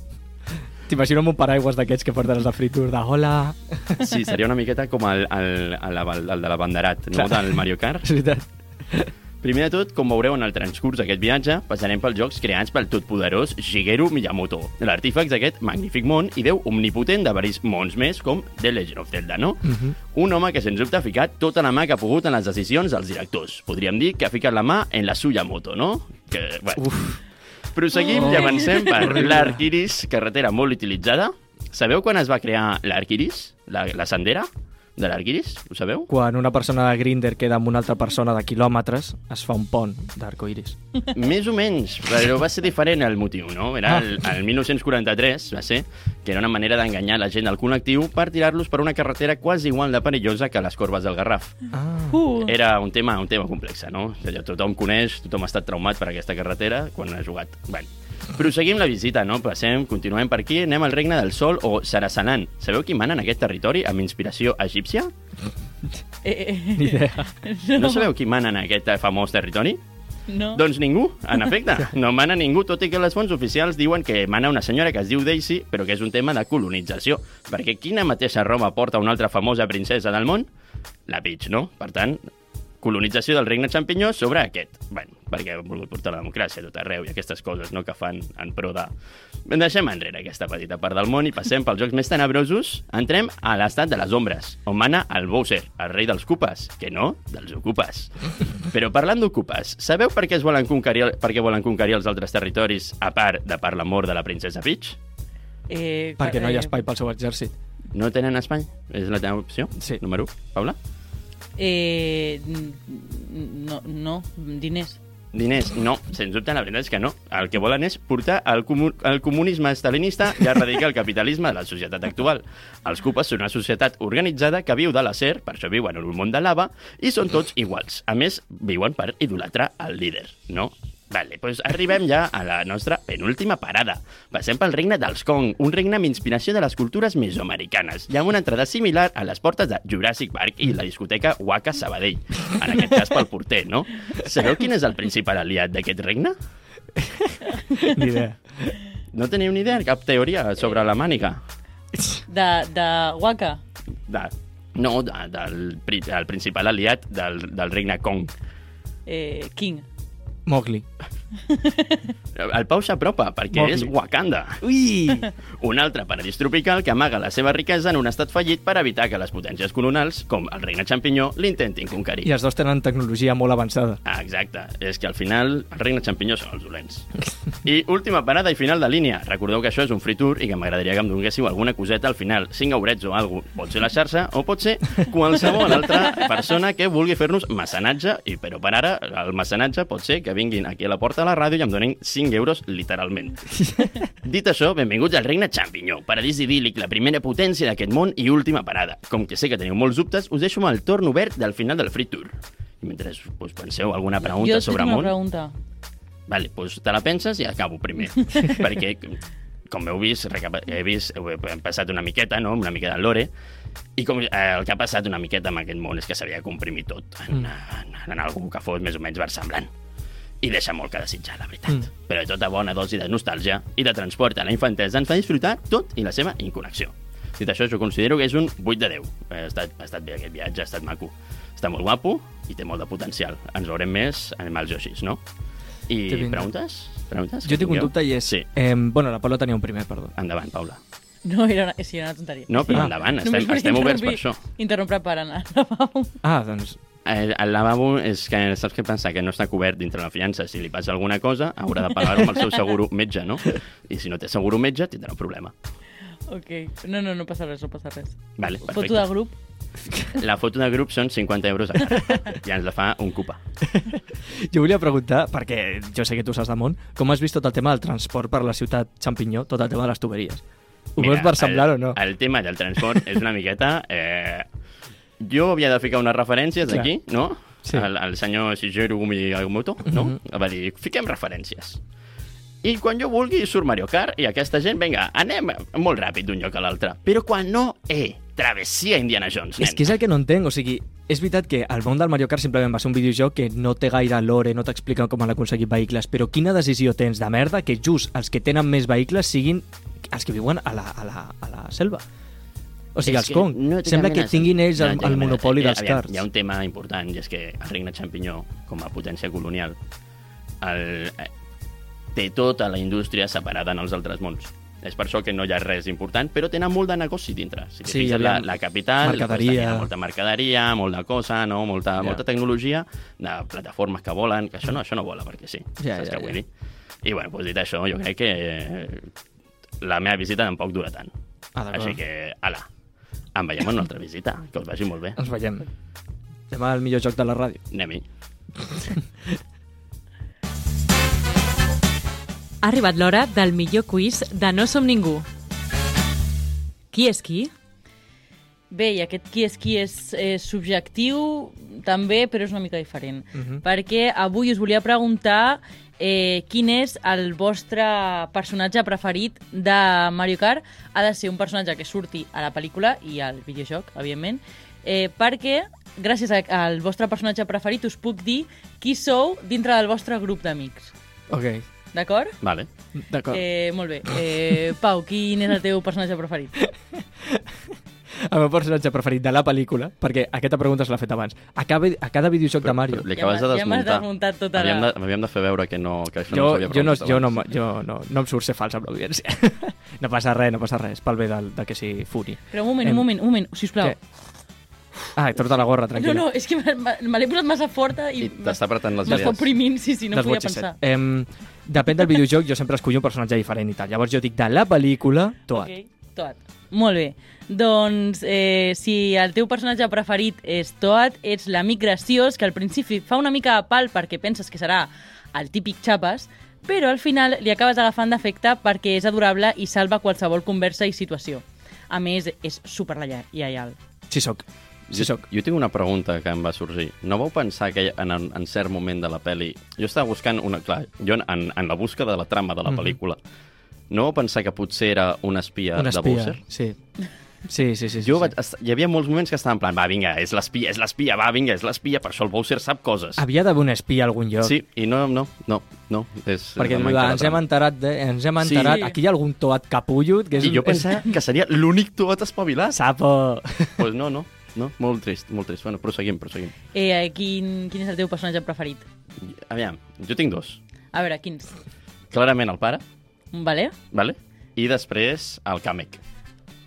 T'imagino amb un paraigües d'aquests que porten els de fritur de hola...
Sí, seria una miqueta com el, el, el, el, el de l'abanderat, no?
Clar.
Del Mario Kart.
És veritat.
Primer de tot, com veureu en el transcurs d'aquest viatge, passarem pels jocs creats pel totpoderós Shigeru Miyamoto, l'artífex d'aquest magnífic món i déu omnipotent de varis mons més, com The Legend of Zelda, no?
Mhm.
Un home que, sens dubte, ha ficat tota la mà que ha pogut en les decisions dels directors. Podríem dir que ha ficat la mà en la suya moto, no? Que, bueno.
Uf.
Proseguim
Oh.
i avancem per
Horrible.
l'Arquiris, carretera molt utilitzada. Sabeu quan es va crear l'Arquiris? La, la sendera de l'Arquiris? Ho sabeu?
Quan una persona de Grinder queda amb una altra persona de quilòmetres, es fa un pont d'arcoiris.
Més o menys, però va ser diferent el motiu, no? Era el, el 1943, va ser, que era una manera d'enganyar la gent del col·lectiu per tirar-los per una carretera quasi igual de perillosa que les corbes del Garraf.
Ah.
Eh,
Uh,
Era un tema un tema complex, no? Allò, Tothom coneix, tothom ha estat traumat per aquesta carretera quan ha jugat. Bueno, proseguim la visita, no? Passem, continuem per aquí, anem al Regne del Sol o Sarasanan. Sabeu qui mana en aquest territori amb inspiració egípcia?
eh, eh, eh.
Ni idea.
No sabeu qui mana en aquest famós territori?
No.
Doncs ningú, en efecte. No mana ningú, tot i que les fonts oficials diuen que mana una senyora que es diu Daisy, però que és un tema de colonització. Perquè quina mateixa roba porta una altra famosa princesa del món? La Peach, no? Per tant, colonització del regne xampinyó sobre aquest. Bé, perquè han volgut portar la democràcia a tot arreu i aquestes coses no que fan en pro de... Deixem enrere aquesta petita part del món i passem pels jocs més tenebrosos. Entrem a l'estat de les ombres, on mana el Bowser, el rei dels Cupes, que no, dels Ocupes. Però parlant d'Ocupes, sabeu per què, es volen conquerir, el- per què volen conquerir els altres territoris, a part de per l'amor de la princesa Peach?
Eh,
Perquè no hi ha
eh,
espai pel seu exèrcit.
No tenen espai? És la teva opció?
Sí.
Número 1, Paula?
Eh, n- no, no, diners.
Diners, no, sens dubte, la veritat és que no. El que volen és portar el, comu el comunisme estalinista i erradicar el capitalisme de la societat actual. Els Cupes són una societat organitzada que viu de l'acer, per això viuen en un món de lava, i són tots iguals. A més, viuen per idolatrar el líder, no? Vale, doncs arribem ja a la nostra penúltima parada. Passem pel regne dels Kong, un regne amb inspiració de les cultures mesoamericanes, i amb una entrada similar a les portes de Jurassic Park i la discoteca Waka Sabadell. En aquest cas pel porter, no? Sabeu quin és el principal aliat d'aquest regne?
Ni idea.
No teniu ni idea cap teoria sobre la màniga?
De, de Waka.
De... No, de, del, pri- el principal aliat del, del regne Kong.
Eh, King.
Mowgli.
El Pau s'apropa, perquè
Mowgli.
és Wakanda.
Ui!
Un altre paradís tropical que amaga la seva riquesa en un estat fallit per evitar que les potències colonals, com el regne xampinyó, l'intentin conquerir.
I els dos tenen tecnologia molt avançada.
Ah, Exacte, és que al final el regne xampinyó són els dolents. I última parada i final de línia. Recordeu que això és un free tour i que m'agradaria que em donguéssiu alguna coseta al final, cinc aurets o alguna Pot ser la xarxa o pot ser qualsevol altra persona que vulgui fer-nos mecenatge, i però per ara el mecenatge pot ser que vinguin aquí a la porta de la ràdio i em donin 5 euros literalment. Dit això, benvinguts al regne Champinyó, paradís idíl·lic, la primera potència d'aquest món i última parada. Com que sé que teniu molts dubtes, us deixo amb el torn obert del final del free tour. I mentre us penseu alguna pregunta
jo et
sobre
una
món...
pregunta.
Vale, doncs te la penses i acabo primer. perquè, com heu vist, recapa- he vist, heu- hem passat una miqueta, no?, una miqueta al lore, i com, eh, el que ha passat una miqueta amb aquest món és que s'havia de comprimir tot en, en, en algú que fos més o menys versemblant. I deixa molt que desitjar, la veritat. Mm. Però tota bona dosi de nostàlgia i de transport a la infantesa ens fa disfrutar tot i la seva inconnexió. Dit això, jo considero que és un 8 de 10. Ha estat, ha estat bé aquest viatge, ha estat maco. Està molt guapo i té molt de potencial. Ens veurem més amb els Yoshis, no? I
Té pinta.
preguntes? preguntes?
Jo tinc un dubte i és...
Sí,
Eh, bueno, la Paula tenia un primer, perdó.
endavant, Paula.
No, era una, sí, era una tonteria.
No, però
Ah.
endavant,
Només
estem,
volia
estem oberts per
interrompir-
això.
Interrompre per anar al lavabo.
Ah, doncs...
El, el lavabo és que saps què passa? Que no està cobert dintre la fiança. Si li passa alguna cosa, haurà de pagar-ho amb el seu seguro metge, no? I si no té seguro metge, tindrà un problema.
Ok. No, no, no passa res, no passa res.
Vale,
Foto de
perfecte.
grup.
La foto de grup són 50 euros a cara. I ens la fa un cupa.
Jo volia preguntar, perquè jo sé que tu saps de món, com has vist tot el tema del transport per la ciutat Champinyó, tot el tema de les tuberies? Ho
Mira,
veus versemblant
el,
o no?
El tema del transport és una miqueta... Eh, jo havia de ficar unes referències
Clar.
aquí, no?
Sí. Mhm.
Sí. El, el senyor Shigeru Miyamoto, no? Mm -hmm. Va dir, fiquem referències. I quan jo vulgui surt Mario Kart i aquesta gent, vinga, anem molt ràpid d'un lloc a l'altre. Però quan no, eh, travessia Indiana Jones, nen.
És que és el que no entenc, o sigui, és veritat que el món del Mario Kart simplement va ser un videojoc que no té gaire lore, no t'explica com han aconseguit vehicles, però quina decisió tens de merda que just els que tenen més vehicles siguin els que viuen a la, a la, a la selva? O sigui,
És
els
que
Kong.
no té
Sembla
cap
que
mena de
tinguin
sentit.
ells el,
té cap
el
mena de
monopoli
sentit.
dels
Aviam,
karts.
Hi ha un tema important, i és que el regne Champinyó, com a potència colonial, el, eh, té tota la indústria separada en els altres mons. És per això que no hi ha res important, però tenen molt de negoci dintre. Si
Sí,
sí, fixes, la,
aviam,
la capital, doncs,
mercaderia.
tenia molta mercaderia, molta cosa, no? molta,
Ja.
molta tecnologia, de plataformes que volen, que això no, això no vola perquè sí.
Ja,
saps
ja,
què vull
ja.
dir? I bueno, doncs dit això, jo crec que eh, la meva visita tampoc dura tant.
Ah, d'acord.
Així que, ala, em veiem en una altra visita, que us vagi molt bé.
Ens veiem. Demà el millor joc de la ràdio.
Anem-hi.
Ha arribat l'hora del millor quiz de No som ningú. Qui és qui?
Bé, i aquest qui és qui és eh, subjectiu també, però és una mica diferent. Perquè avui us volia preguntar eh, quin és el vostre personatge preferit de Mario Kart. Ha de ser un personatge que surti a la pel·lícula i al videojoc, evidentment, eh, perquè gràcies a- al vostre personatge preferit us puc dir qui sou dintre del vostre grup d'amics.
Ok,
D'acord?
Vale.
d'acord. Eh...
Eh, molt bé. Eh, Pau, quin és el teu personatge preferit?
el meu personatge preferit de la pel·lícula, perquè aquesta pregunta se l'ha fet abans, a cada, a cada videojoc de Mario...
Li acabes de
Ja m'has
desmuntar.
desmuntat tota
Havíem
la-
de, havíem de fer veure que no... Que això
Jo,
no
jo, no, jo, no, m- jo no, no em surt ser fals amb l'audiència. no passa res, no passa res, pel bé del, de que sigui Furi.
Però un moment,
Em-
un moment, un moment, sisplau.
Què? Ah, et trota la gorra,
No,
tranquil·la.
no, és que me- me me l'he posat massa forta i,
I t'està apretant les
m'està
idees.
oprimint, sí, sí, no
That's
podia
what she
pensar.
said. Em, depèn del videojoc, jo sempre escollo un personatge diferent i tal. Llavors jo dic de la pel·lícula, Toad. Okay.
Ok, Toad. Molt bé. Doncs eh, si el teu personatge preferit és Toad, ets l'amic graciós que al principi fa una mica de pal perquè penses que serà el típic xapes, però al final li acabes agafant d'efecte perquè és adorable i salva qualsevol conversa i situació. A més, és super lleial.
Sí, soc. Sí,
Jo,
soc.
jo tinc una pregunta que em va sorgir. No vau pensar que en, en, en cert moment de la peli... Jo estava buscant una... Clar, jo en, en, en la busca de la trama de la pel·lícula no vau pensar que potser era un espia,
Un
de
espia.
Bowser?
Sí. Sí, sí, sí. sí,
Jo
sí.
vaig, est- hi havia molts moments que estava en plan, va, vinga, és l'espia, és l'espia, va, vinga, és l'espia, per això el Bowser sap coses.
Havia d'haver un espia a algun lloc.
Sí, i no, no, no, no. És,
Perquè
em
diu,
manca la
ens hem
trama.
enterat, de, ens hem
Sí.
enterat, aquí hi ha algun toat capullut que és...
I jo
un-
pensava que seria l'únic tuat espavilat.
és- Sapo.
pues no, no, no, molt trist, molt trist. Bueno, proseguim, proseguim.
Eh, eh, quin, quin és el teu personatge preferit?
Aviam, jo tinc dos.
A veure, quins?
Clarament el pare,
Vale?
vale? i després el Kamek.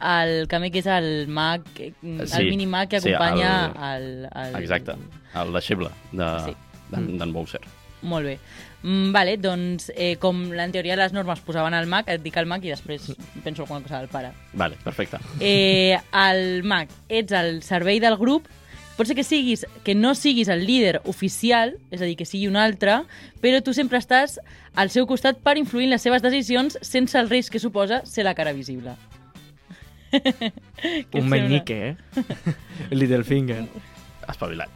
El Kamek és el mag, eh, el
Sí,
minimag que
sí,
acompanya
el-
el... el,
Exacte, el deixeble d'en
Sí.
de, d'en- d'en Bowser.
Molt bé. Mm, vale, doncs, eh, com en teoria les normes posaven al Mac, et dic el Mac i després penso alguna cosa del pare.
Vale, perfecte.
Eh, el Mac, ets el servei del grup, pot ser que siguis que no siguis el líder oficial, és a dir, que sigui un altre, però tu sempre estàs al seu costat per influir en les seves decisions sense el risc que suposa ser la cara visible. Què et
Un
sembla?
menyique, eh? Littlefinger.
Espavilat.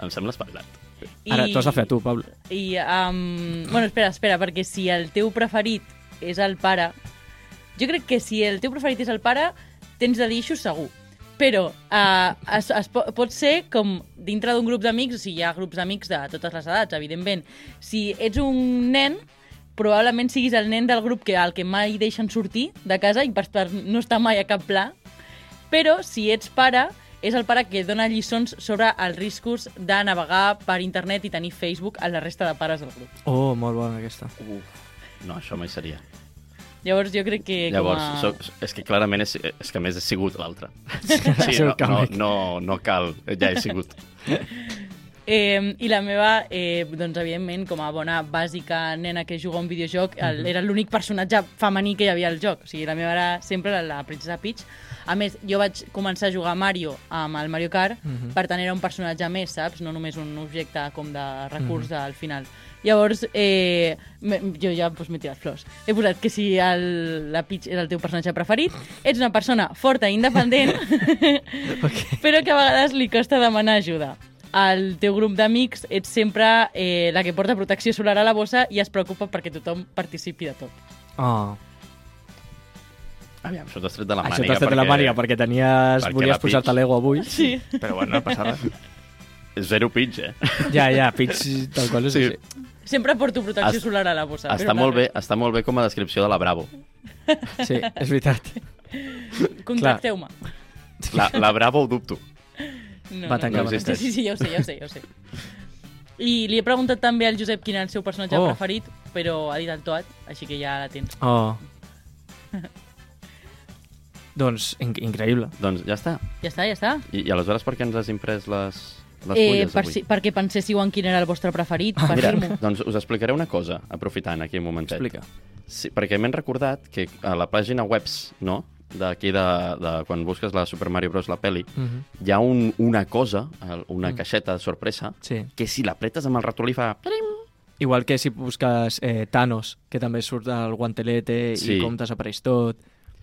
em sembla espavilat.
I-
Ara t'ho has de fer a tu, Pablo.
I, um, bueno, espera, espera, perquè si el teu preferit és el pare... Jo crec que si el teu preferit és el pare, tens de dir això segur. Però uh, es, es po pot ser com dintre d'un grup d'amics, o sigui, hi ha grups d'amics de totes les edats, evidentment. Si ets un nen, probablement siguis el nen del grup que al que mai deixen sortir de casa i per, per no estar mai a cap pla. Però si ets pare, és el pare que dona lliçons sobre els riscos de navegar per internet i tenir Facebook a la resta de pares del grup.
Oh, molt bona aquesta.
No, això mai seria.
Llavors jo crec que
Llavors,
com a...
soc, és que clarament és, és que a més he sigut l'altre.
el
Sí, no, no,
Kamek.
no, no cal, ja he sigut.
Eh, I la meva, eh, doncs evidentment, com a bona bàsica nena que juga a un videojoc, el, era l'únic personatge femení que hi havia al joc. O sigui, la meva era sempre la, la princesa Peach. A més, jo vaig començar a jugar a Mario amb el Mario Kart, per tant era un personatge més, saps? No només un objecte com de recurs al final. Llavors, eh, me- jo ja doncs, m'he tirat flors. He posat que si el, la Peach era el teu personatge preferit, ets una persona forta i independent, però que a vegades li costa demanar ajuda. Al teu grup d'amics ets sempre eh, la que porta protecció solar a la bossa i es preocupa perquè tothom participi de tot.
Oh.
Aviam, això t'has tret de la
Això
màniga.
t'has tret de la màniga perquè tenies,
perquè
volies
la
posar-te
Peach-
l'ego avui.
Sí.
Però bueno, no passa res.
Zero pitch, eh?
Ja, ja, Peach, tal qual és
Sí.
sí. així.
Sempre porto protecció
Es-
solar a la bossa.
Està
però
molt, bé,
clar,
està molt bé com a descripció de la Bravo.
Sí, és veritat.
Contacteu-me.
La, la Bravo ho dubto.
No,
Va
no,
tancar,
no,
va
sí,
tancar.
Sí, sí, ja ho sé, ja ho sé, ja ho sé. I li he preguntat també al Josep quin era el seu personatge
Oh.
oh. preferit, però ha dit el Toad, així que ja la tens.
Oh. Doncs, in increïble.
Doncs ja està.
Ja està, ja està.
I, i aleshores per què ens has imprès les, les
Eh,
fulles
per
avui?
si, perquè penséssiu en quin era el vostre preferit, ah,
Mira,
per
doncs us explicaré una cosa, aprofitant aquí un momentet.
Explica.
Sí, perquè m'he recordat que a la pàgina webs, no?, d'aquí de, de quan busques la Super Mario Bros. la peli,
Mm
Mhm.
-hmm.
hi ha un, una cosa, el- una caixeta de sorpresa,
Sí.
que si l'apretes amb el ratolí fa...
Igual que si busques eh, Thanos, que també surt del guantelete sí.
Sí.
i com desapareix tot.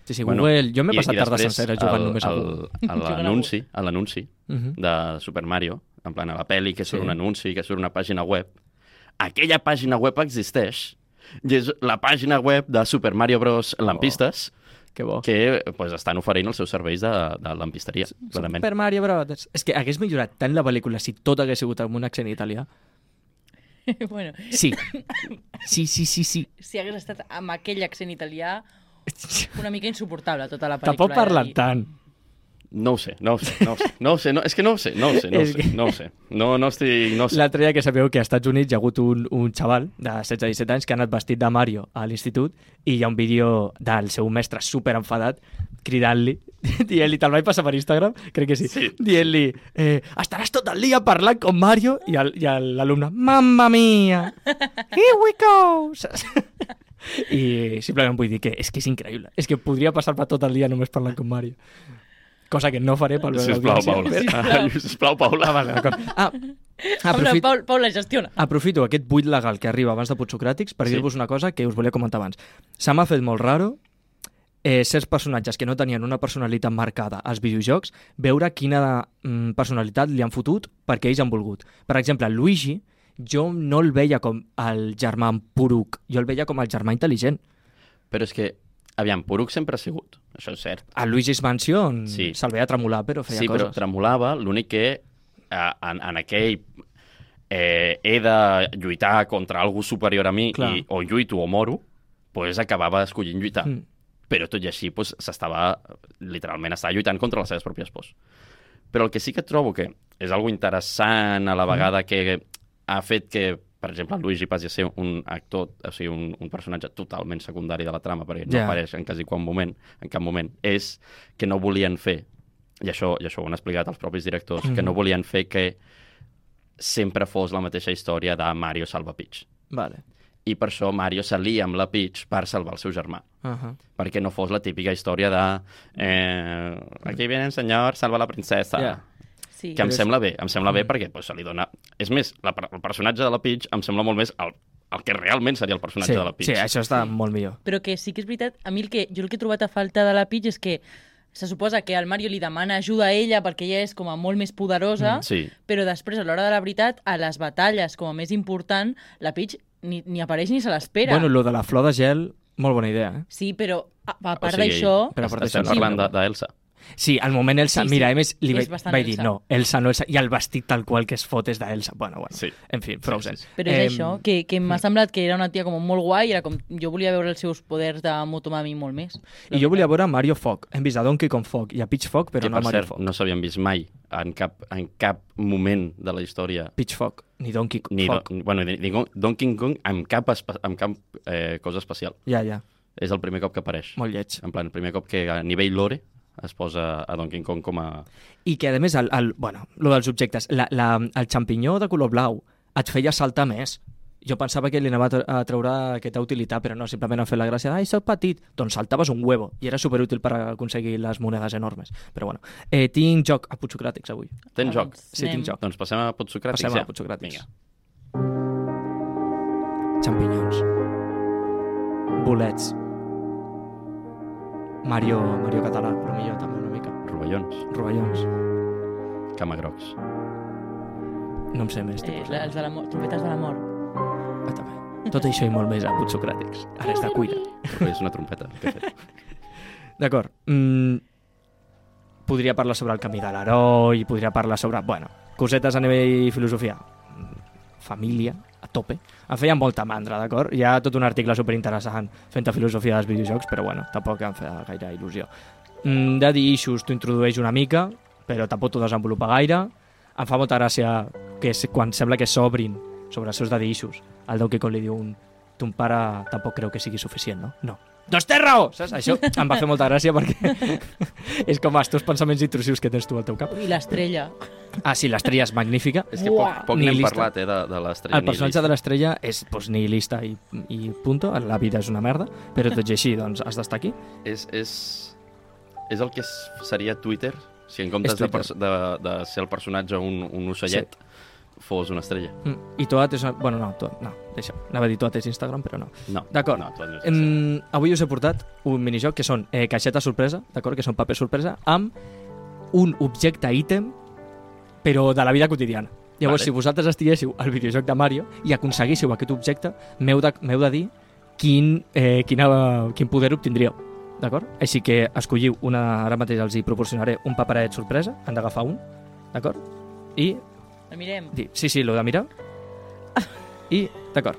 Sí, sí, Google. Jo m'he
i-
passat
i
tardes
després
senceres jugant
el-
només a
el-
Google.
a
Jugant a
l'anunci, a l'anunci
Mhm.
de Super Mario, en plan a la peli que surt
Sí.
un anunci, que surt una pàgina web, aquella pàgina web existeix, i és la pàgina web de Super Mario Bros. Lampistes,
Que bo.
que pues, estan oferint els seus serveis de, de lampisteria, clarament.
Super Mario Bros. És que hagués millorat tant la pel·lícula si tot hagués sigut amb un accent italià.
mi. bueno,
Sí. Sí, sí, sí, sí.
si hagués estat amb aquell accent italià, una mica insuportable tota la pel·lícula.
Tampoc
he de
parlen
dir.
tant.
No ho sé, no ho sé, no ho sé, no ho sé, no, és que no ho sé, no ho sé, no ho
És
sé,
que-
no ho sé. No, no estic... No ho sé.
L'altre dia que sabeu que als Estats Units hi ha hagut un, un xaval de 16-17 anys que ha anat vestit de Mario a l'institut i hi ha un vídeo del seu mestre super enfadat cridant-li, dient-li, te'l vaig passar per Instagram, crec que sí, sí. dient-li, eh, estaràs tot el dia parlant com Mario i el- i el- l'alumne, mamma mia, here we go, saps? I simplement vull dir que és que és increïble, és que podria passar-me tot el dia només parlant com Mario. Cosa que no faré pel bé de
Sisplau,
l'audiència,
Paula.
però-
Ah, Sisplau, Paula.
Ah, vale, d'acord. Ah,
Paula,
aprofit-
Paula, Paula, gestiona.
Aprofito aquest buit legal que arriba abans de Potsocràtics per
Sí.
sí. dir-vos una cosa que us volia comentar abans. Se m'ha fet molt raro eh, certs personatges que no tenien una personalitat marcada als videojocs, veure quina mm, personalitat li han fotut perquè ells han volgut. Per exemple, Luigi, jo no el veia com el germà poruc, jo el veia com el germà intel·ligent.
Però és que, aviam, Poruc sempre ha sigut, això és cert.
A Luigi's Mansion
Sí.
sí. se'l veia tremolar, però feia
Sí, però
coses.
tremolava, l'únic que eh, en, en aquell eh, he de lluitar contra algú superior a mi
Clar.
i o lluito o moro, pues acabava escollint lluitar. Mm.
Mm.
Però tot i així pues, s'estava, literalment, estava lluitant contra les seves pròpies pors. Però el que sí que trobo que és algo interessant a la vegada que ha fet que, per exemple, Luigi passi a ser un actor, o sigui, un, un personatge totalment secundari de la trama, perquè no
Ja.
apareix en quasi quan moment, en cap moment, és que no volien fer, i això, i això ho han explicat els propis directors, mm -hmm. que no volien fer que sempre fos la mateixa història de Mario salva Peach.
Vale.
I per això Mario s'alia amb la Peach per salvar el seu germà
Uh -huh.
perquè no fos la típica història de eh, aquí viene el senyor, salva la princesa.
Ja.
Yeah.
Sí.
Que em
Però és- Mm.
sembla bé, em sembla bé perquè pues, se li dona... És més, la, per- el personatge de la Peach em sembla molt més el, el que realment seria el personatge
Sí,
de la Peach.
sí, això està molt millor.
Però que sí que és veritat, a mi el que, jo el que he trobat a falta de la Peach és que se suposa que el Mario li demana ajuda a ella perquè ella és com a molt més poderosa,
Mm.
Sí.
però després, a l'hora de la veritat, a les batalles, com a més important, la Peach ni, ni apareix ni se l'espera.
Bueno, lo de la flor de gel, molt bona idea, eh?
Sí, però a, a
O
part
sigui,
d'això...
Però a part
estem
d'això-
parlant de- d'Elsa.
Sí, al moment Elsa,
Sí, sí.
sí, sí. mira, a més, li
És
vaig,
bastant
vaig dir,
Elsa.
no, Elsa no Elsa, i el vestit tal qual que es fot és d'Elsa. Bueno, bueno,
Sí.
sí. en fi, Frozen.
Sí, sí, sí.
Però és això, que, que
mm.
m'ha semblat que era una tia com molt guai, era com, jo volia veure els seus poders de Motomami molt més.
I jo volia veure Mario Foc. Hem vist a Donkey Kong Foc i a Peach Foc, però
que,
no a
per
Mario
cert,
Foc.
no s'havien vist mai en cap, en cap moment de la història
Peach Foc, ni Donkey Kong
ni, do,
Foc.
bueno, ni, ni Donkey Kong amb cap, espe- amb cap eh, cosa especial.
Ja, ja,
És el primer cop que apareix.
molt lleig.
En plan, el primer cop que a nivell lore es posa a Donkey Kong com a...
I que, a més, el, el, bueno, lo dels objectes, la, la, el xampinyó de color blau et feia saltar més. Jo pensava que li anava a tre- a treure aquesta utilitat, però no, simplement han fet la gràcia d'ai, soc petit, doncs saltaves un huevo, i era superútil per aconseguir les monedes enormes. Però bueno, eh, tinc joc a Putsocràtics avui.
Tens joc?
Ah, Sí, tinc joc.
Doncs passem a Potsocràtics,
Passem
ja.
a Potsocràtics.
Vinga.
Champinyons. Bolets. Mario, Mario català, però millor també una mica.
Rovellons,
Rovellons.
camagrocs.
No em sé més.
Eh,
tipus,
la- els de la mort, trompetes de la mort.
Ah, també. Tot això i molt més a Putsocràtics. Ara està cuida.
És una trompeta. que he fet.
D'acord. Mm, podria parlar sobre el camí de l'heroi, podria parlar sobre... Bueno, cosetes a nivell filosofia. Mm, Família, a tope. Em feia molta mandra, d'acord? Hi ha tot un article superinteressant fent de filosofia dels videojocs, però bueno, tampoc em feia gaire il·lusió. Mm, Daddy Issues t'ho introdueix una mica, però tampoc t'ho desenvolupa gaire. Em fa molta gràcia que és quan sembla que s'obrin sobre els seus Daddy Issues. El Donkey Kong li diu un... Ton pare tampoc creu que sigui suficient, no? No. Doncs té raó! Saps? Això em va fer molta gràcia perquè és com els teus pensaments intrusius que tens tu al teu cap.
I l'estrella.
Ah, sí, l'estrella és magnífica.
És que poc, poc n'hem
Nihilista.
parlat, eh, de, de l'estrella
El personatge de l'estrella és pues, nihilista i, i punto. La vida és una merda, però tot i així doncs, has d'estar aquí.
És, és, és el que és, seria Twitter, si en comptes
És
de,
Twitter.
pers- de, de ser el personatge un, un ocellet, fos una estrella.
Mm, I Toat és... Una... Bueno, no, Toat, no, deixa. Anava a dir Toat és Instagram, però no.
No.
D'acord.
No, tot no és estrella.
Mm, avui us he portat un minijoc que són eh, caixeta sorpresa, d'acord? Que són paper sorpresa, amb un objecte ítem, però de la vida quotidiana. Llavors,
Vale.
vale. si vosaltres estiguéssiu al videojoc de Mario i aconseguíssiu aquest objecte, m'heu de, m'heu de dir quin, eh, quina, quin poder obtindríeu. D'acord? Així que escolliu una... Ara mateix els hi proporcionaré un paperet sorpresa, han d'agafar un, d'acord? I
La mirem.
dir, sí, sí, l'heu de mirar. I, d'acord.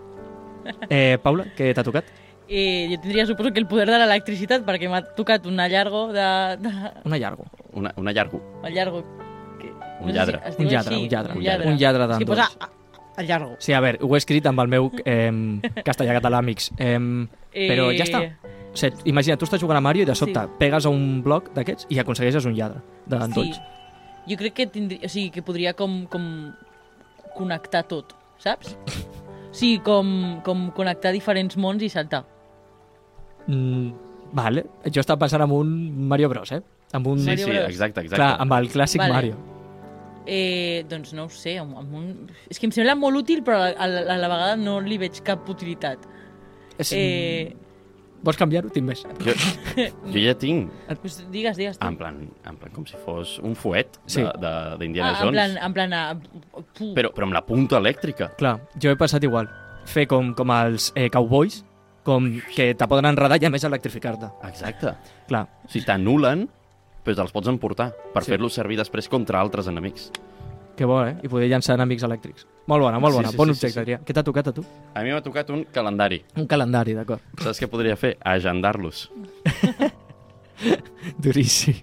Eh, Paula, què t'ha tocat?
Eh, jo tindria, suposo, que el poder de l'electricitat, perquè m'ha tocat un allargo de, de...
Una llargo.
Una, una llargo.
El llargo. Que...
Un lladre.
es
Un
diu
lladre,
així,
un lladre.
Un lladre,
Un lladre
És que
d'ambdós.
posa a- a- el llargo.
Sí, a veure, ho he escrit amb el meu eh, castellà-català, amics. Eh, però ja està. O sigui, imagina, tu estàs jugant a Mario i de sobte
Sí.
pegues a un bloc d'aquests i aconsegueixes un lladre d'endolls. Sí.
Jo crec que tindria, o sigui, que podria com, com connectar tot, saps? Sí, com, com connectar diferents mons i saltar.
Mm, vale. Jo estava pensant en un Mario Bros, eh? Amb un...
Sí,
Mario
sí,
Bros.
exacte, exacte.
Clar, amb el clàssic
Vale.
vale. Mario.
Eh, doncs no ho sé, amb, amb un... és que em sembla molt útil, però a la, a la vegada no li veig cap utilitat.
És, eh...
Eh,
Vols canviar-ho? Tinc més.
Jo, jo ja tinc,
pues doncs digues, digues. tu.
en plan, en plan com si fos un fuet
Sí.
de- de- d'Indiana
ah,
sí.
en
Jones,
plan, en plan... A... Puh,
però, però amb la punta elèctrica.
Clar, jo he passat igual. Fer com, com els eh, cowboys, com que te poden enredar i a més electrificar-te.
Exacte.
Clar,
O sigui, t'anulen, però te'ls pots emportar per
Sí.
sí. fer-los servir després contra altres enemics.
que bo, eh? I poder llançar enemics elèctrics. Molt bona, molt
Sí,
bona.
sí,
Sí, sí, bon
sí,
sí, objecte,
sí, sí.
sí, sí. Què t'ha tocat a tu?
A mi m'ha tocat un calendari.
Un calendari, d'acord.
Saps què podria fer? Agendar-los.
Duríssim.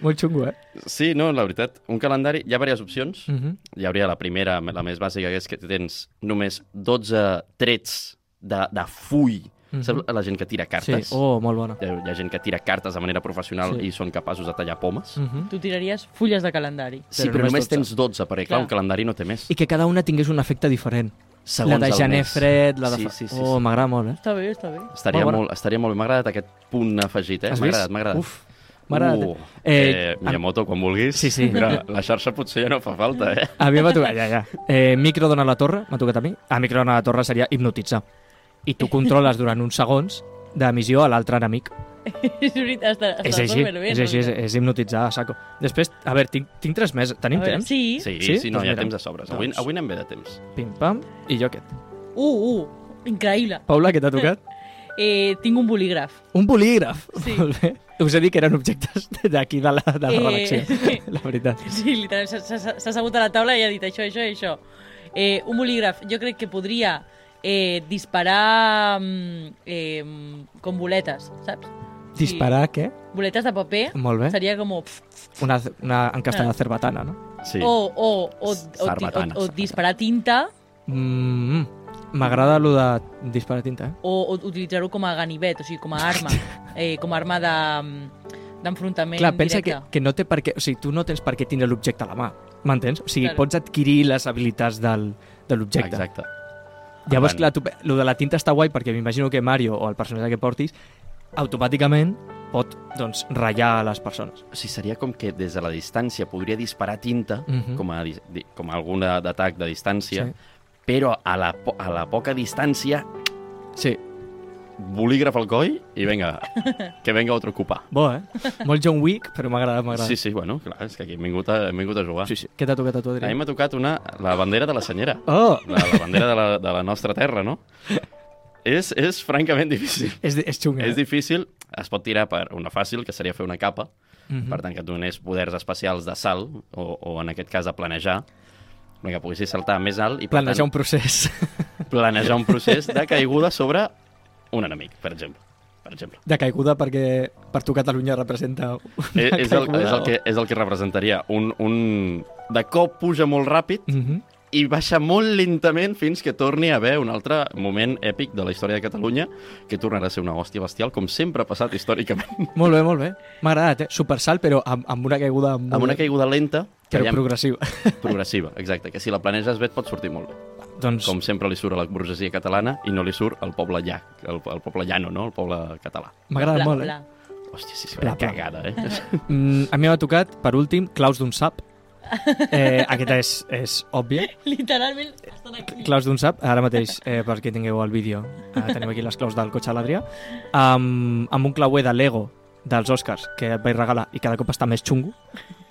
Molt xungo, eh?
Sí, no, la veritat, un calendari... Hi ha diverses opcions.
Uh -huh.
Hi hauria la primera, la més bàsica, que és que tens només 12 trets de, de full. Mm
Mhm.
-hmm. Saps la gent que tira
Sí,
cartes?
oh, molt bona.
Hi ha, hi ha gent que tira cartes de manera professional
Sí.
sí. i són capaços de tallar pomes.
Uh -huh.
tu tiraries fulles de calendari.
Sí, però,
Però només
només
12.
tens 12, perquè clar,
Clar.
un calendari no té més.
I que cada una tingués un efecte diferent.
Segons
la de
el
gener
mes.
fred, la de...
Sí,
fa-
sí, sí,
oh,
sí.
m'agrada molt, eh?
Està bé, està bé.
Estaria
Molt
molt,
bona.
estaria molt bé. M'ha agradat aquest punt afegit, eh?
Has
M'ha
vist?
agradat, m'ha agradat.
Uf, m'ha agradat.
Uh,
eh,
eh,
a-
Miyamoto, quan vulguis.
Sí, sí.
Mira, la xarxa potser ja no fa falta, eh?
A mi em va tocar, ja, ja. Eh, micro dona la torre, m'ha tocat a mi. A micro dona la torre seria hipnotitzar. I tu controles durant uns segons d'emissió a l'altre enemic.
és veritat, està, està
és així,
superbé,
és
en
així, és,
realitat.
és hipnotitzar a saco. Després, a veure, tinc, tinc tres més. Tenim
A veure,
temps?
Sí. sí.
Sí, sí,
Sí?
sí no,
Doncs
hi ha
mira.
temps a sobres. Avui,
Doncs-
avui anem bé de temps.
Pim, pam, i jo aquest.
Uh, uh, increïble.
Paula, què t'ha tocat?
Eh, tinc un bolígraf.
Un bolígraf.
Sí.
Molt bé. Us he dit que eren objectes d'aquí de la, de la
Eh,
redacció.
sí.
La veritat.
Sí, literalment, s'ha- s'ha s'ha assegut a la taula i ha dit això, això i això. Eh, un bolígraf, jo crec que podria eh, disparar mm, eh, com boletes, saps? Sí.
Disparar, què?
Boletes de paper
Molt bé.
seria com... Pf,
Una, una
Ah.
encastada cerbatana, no?
Sí.
Oh,
o, o, o, o,
Sarbatana,
o, o, o
sarbatana.
disparar tinta
Mm, M'agrada mm, de disparar tinta, eh?
o, o utilitzar-ho com a ganivet, o sigui, com a arma, eh, com a arma de- mm, d'enfrontament
Clar, pensa que,
directe.
que no té per què... O sigui, tu no tens per què tindre l'objecte a la mà, m'entens? O sigui,
Claro.
claro. pots adquirir les habilitats del, de l'objecte.
Exacte.
Llavors,
Clar.
clar, tu, lo de la tinta està guai perquè m'imagino que Mario o el personatge que portis automàticament pot, doncs, ratllar a les persones.
O sigui, seria com que des de la distància podria disparar tinta,
Mhm.
com, a, dis- di- com a algun d'atac de distància,
Sí.
però a la, po- a la poca distància,
Sí,
bolígraf al coll i vinga, que venga otro ocupar.
bo, eh? Molt John Wick, però m'agrada, m'agrada.
Sí, sí, bueno, clar, és que aquí hem vingut a, hem vingut a jugar.
sí, sí. Què t'ha tocat a tu,
A mi
Adrià?
m'ha tocat una, la bandera de la senyera.
Oh!
La, la bandera de la, de la nostra terra, no? És, és francament difícil.
És, di- és xunga. eh?
És difícil, es pot tirar per una fàcil, que seria fer una capa,
Mm
per tant que et donés poders especials de salt, o, o en aquest cas de planejar, no, que poguessis saltar més alt i per
Planejar un procés
tant, planejar un procés de caiguda sobre un enemic, per exemple. Per exemple.
de caiguda perquè per tu Catalunya representa una
Eh, És, és, el,
caiguda.
és, el que, és el que representaria un, un... De cop puja molt ràpid
Mm -hmm.
i baixa molt lentament fins que torni a haver un altre moment èpic de la història de Catalunya que tornarà a ser una hòstia bestial, com sempre ha passat històricament,
Molt bé, molt bé. M'ha agradat, eh? Supersalt, però amb, amb una caiguda... Molt...
amb una caiguda lenta que
Però
ja
progressiva.
progressiva, exacte, que si la planeges bé et pot sortir molt bé.
doncs,
Com sempre li surt a la burgesia catalana i no li surt al poble llà, el, el poble llano, no? El poble català.
m'agrada
Pla,
molt, eh?
pla.
Hòstia, sí, sí,
Pla,
una
pla.
cagada, eh?
Mm, a mi m'ha tocat, per últim, Claus d'un sap. Eh, aquesta és, és òbvia.
Literalment estan aquí.
Claus d'un sap, ara mateix, eh, perquè tingueu el vídeo, eh, tenim aquí les claus del cotxe a l'Adrià, amb, amb un clauer de Lego dels Oscars que et vaig regalar i cada cop està més xungo.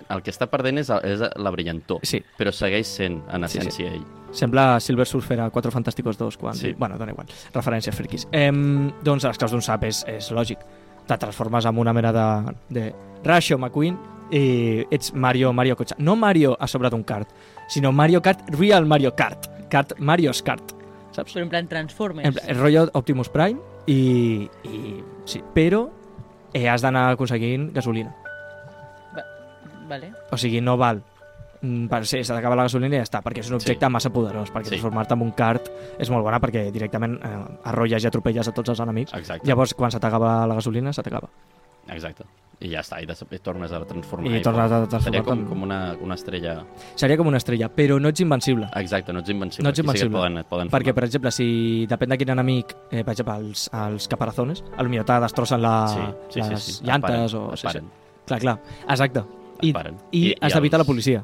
El que està perdent és, és la brillantor,
Sí,
però segueix sent, en
Sí, sí.
essència, ell.
Sembla Silver Surfer a 4 Fantásticos 2 quan...
Sí.
Sí. Bueno, dona igual. Referències friquis. Eh, doncs les claus d'un sap és, és lògic. Te transformes en una mena de, de Ratio McQueen i ets Mario, Mario Cotxa. No Mario a sobre d'un kart, sinó Mario Kart, Real Mario Kart. Kart, Mario's Kart. Saps?
Però en plan Transformers.
El, el rotllo Optimus Prime i... i sí, però eh, has d'anar eh, aconseguint gasolina.
Vale.
O sigui, no val mm, per ser, s'ha d'acabar la gasolina i ja està, perquè és un objecte sí. massa poderós, perquè
Sí.
sí. transformar-te en un kart és molt bona perquè directament eh, arrolles i atropelles a tots els enemics.
Exacte.
Llavors, quan se t'acaba la gasolina, se t'acaba.
Exacte. I ja està, i, de, i tornes a transformar.
I tornes a transformar-te
Seria com,
en-
com una, una estrella...
Seria com una estrella, però no ets invencible.
Exacte, no ets invencible.
No ets
Aquí sí que et
invencible.
poden, et poden
Perquè,
formar.
per exemple, si depèn de quin enemic, eh, per exemple, els, els caparazones, potser te destrossen la,
Sí, sí, sí,
les
sí. Et
llantes
paren,
o...
et
Sí, sí.
paren.
Clar, clar. Exacte. I,
paren.
i,
I- i
has d'evitar
els-
la policia.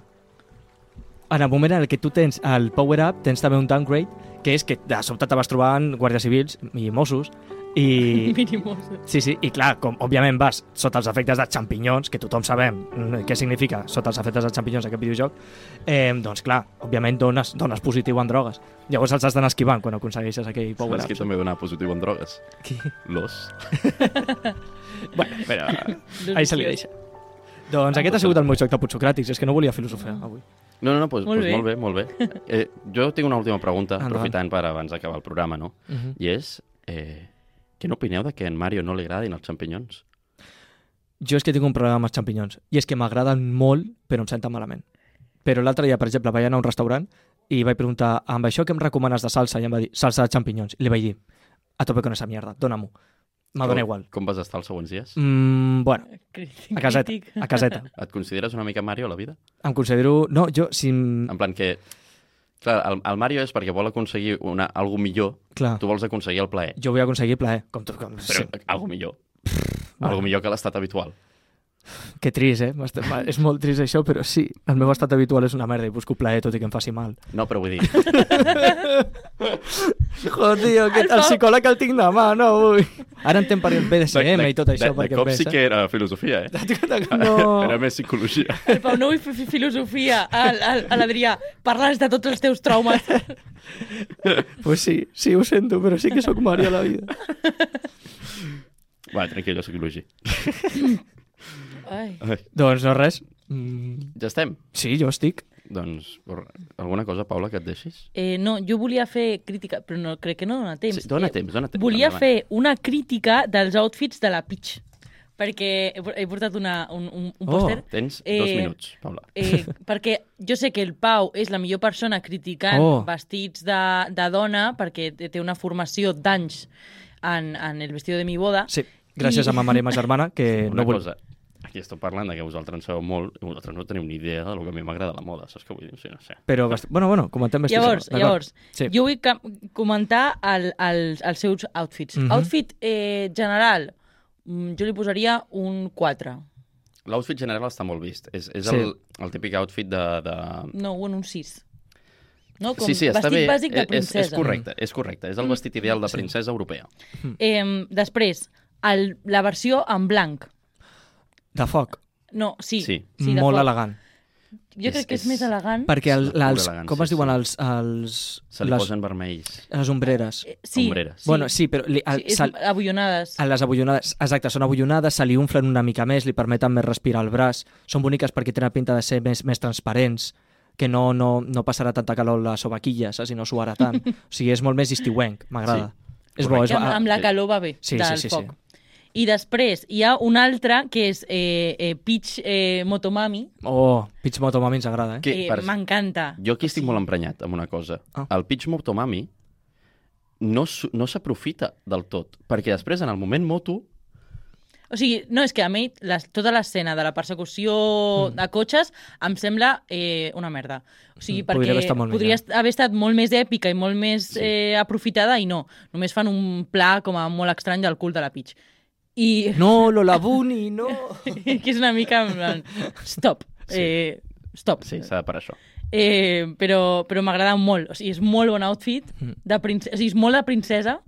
En el moment en el que tu tens el power-up, tens també un downgrade, que és que de sobte te vas trobant guàrdies civils i Mossos, i,
Mínimos.
Sí, sí, i clar, com òbviament vas sota els efectes de xampinyons, que tothom sabem mm, què significa sota els efectes de xampinyons aquest videojoc, eh, doncs clar, òbviament dones, dones positiu en drogues. Llavors els has d'anar esquivant quan aconsegueixes aquell power
Saps qui
up.
també donava positiu en drogues?
Qui?
L'os. bueno, espera.
Ahí se li deixa.
Ah,
Doncs aquest ha sigut el meu joc de Putsocràtics, és que no volia filosofar avui.
No, no, no, doncs,
Molt
molt, doncs, bé. molt bé, molt bé. Eh, jo tinc una última pregunta,
Endavant.
aprofitant per abans d'acabar el programa, no?
Uh -huh.
I és, eh, què n'opineu de que a en Mario no li agradin els xampinyons?
Jo és que tinc un problema amb els xampinyons, i és que m'agraden molt, però em senten malament. Però l'altre dia, per exemple, vaig anar a un restaurant i vaig preguntar, amb això que em recomanes de salsa? I em va dir, salsa de xampinyons. I li vaig dir, a tope con esa mierda, dóna-m'ho. Me dóna
Com-
igual.
Com vas estar els següents dies?
Mm, bueno,
Crític.
a caseta, a caseta.
Et consideres una mica Mario a la vida?
Em considero... No, jo, si... em-
En plan que... Clar, el, el Mario és perquè vol aconseguir una, algo millor.
Clar,
Tu vols aconseguir el plaer,
jo vull aconseguir plaer, com tu. Com...
però
Sí.
sí. algo millor.
va.
Algo millor que l'estat habitual.
Que trist, eh? M'est- va, És molt trist això, però sí, el meu estat habitual és una merda i busco plaer tot i que em faci mal.
No, però vull dir,
Joder, tio, que el psicòleg el tinc demà, no, avui. Ara entenc per el BDSM i tot
de,
això,
de
perquè
cop
em
sí
pensa.
que era filosofia, eh?
No.
Era més psicologia.
El Pau no vull fer fi- filosofia. Al, al, a l'Adrià, parles de tots els teus traumes.
Pues sí, sí, ho sento, però sí que sóc Mario a la vida.
Va, tranquil, jo psicologia.
Ai.
Ai,
Doncs no res. Mm,
ja estem.
sí, jo estic.
Doncs, por- alguna cosa, Paula, que et deixis?
Eh, no, jo volia fer crítica, però no, crec que no dona temps.
Sí, dona
Eh,
temps, dona temps.
Volia
endavant.
fer una crítica dels outfits de la Peach, perquè he por- he portat una, un, un, un
Oh.
pòster.
Tens dos
Eh,
minuts, Paula.
Eh, perquè jo sé que el Pau és la millor persona criticant oh.
Oh.
vestits de, de dona, perquè té té una formació d'anys en, en el vestido de mi boda.
Sí, gràcies a ma mare i ma germana, que
Una
no vol...
cosa, aquí estem parlant de que vosaltres en sabeu molt i vosaltres no teniu ni idea del que a mi m'agrada la moda, saps què vull dir? O sigui, no sé.
Però, bast... bueno, bueno, comentem vestit.
Llavors, llavors
Sí.
jo vull ca- comentar el, el, els seus outfits.
Mhm.
Outfit eh, general, mm, jo li posaria un 4.
L'outfit general està molt vist. És, és
Sí.
el, el típic outfit de... de...
No, un, un 6. No, com
Sí, sí, està
vestit
bé. Eh,
bàsic de
És- és, és
princesa.
correcte, és correcte. És el vestit ideal de princesa europea.
Eh, després, el, la versió en blanc.
De foc,
No, sí.
Sí.
de
molt
foc.
elegant.
Jo
És-
crec que és,
és-
més elegant.
Perquè el,
la pura
els,
elegància,
com es diuen
sí.
els, els,
Se li
les,
posen vermells.
les ombreres?
Eh, Sí,
Ombreres.
sí.
Sí. Bueno, sí, però li, el,
sí, és
se,
abullonades.
a les abullonades, exacte, són abullonades, se li unflen una mica més, li permeten més respirar el braç, són boniques perquè tenen pinta de ser més, més transparents, que no, no, no passarà tanta calor a la sobaquilla, saps? I no suarà tant. o sigui, és molt més estiuenc, m'agrada. Sí. És bo, és
que
bo. Ah,
amb, amb la
Ah, sí.
calor va bé
Sí, sí,
del
sí, sí.
foc. I després hi ha un altre que és eh, eh, Peach eh, Motomami,
Oh, Pitch Motomami ens agrada, eh?
Que,
que eh,
per-
m'encanta.
Jo aquí estic molt emprenyat amb una cosa.
Ah.
El pitch motomami no, s- no s'aprofita del tot, perquè després, en el moment moto,
O sigui, no, és que a mi les, tota l'escena de la persecució mm. de cotxes em sembla eh, una merda. O sigui,
Mm,
perquè
podria haver estat molt
podria
millor.
est- haver estat molt més èpica i molt més sí. eh, aprofitada i no. Només fan un pla com a molt estrany del cul de la Peach. I
No, Lola Bunny, no!
que és una mica... en plan, Stop.
Sí.
Eh, stop.
sí, s'ha de parar això.
Eh, però però m'agrada molt. O sigui, és molt bon outfit.
Mm.
De princesa, o sigui, és molt de princesa.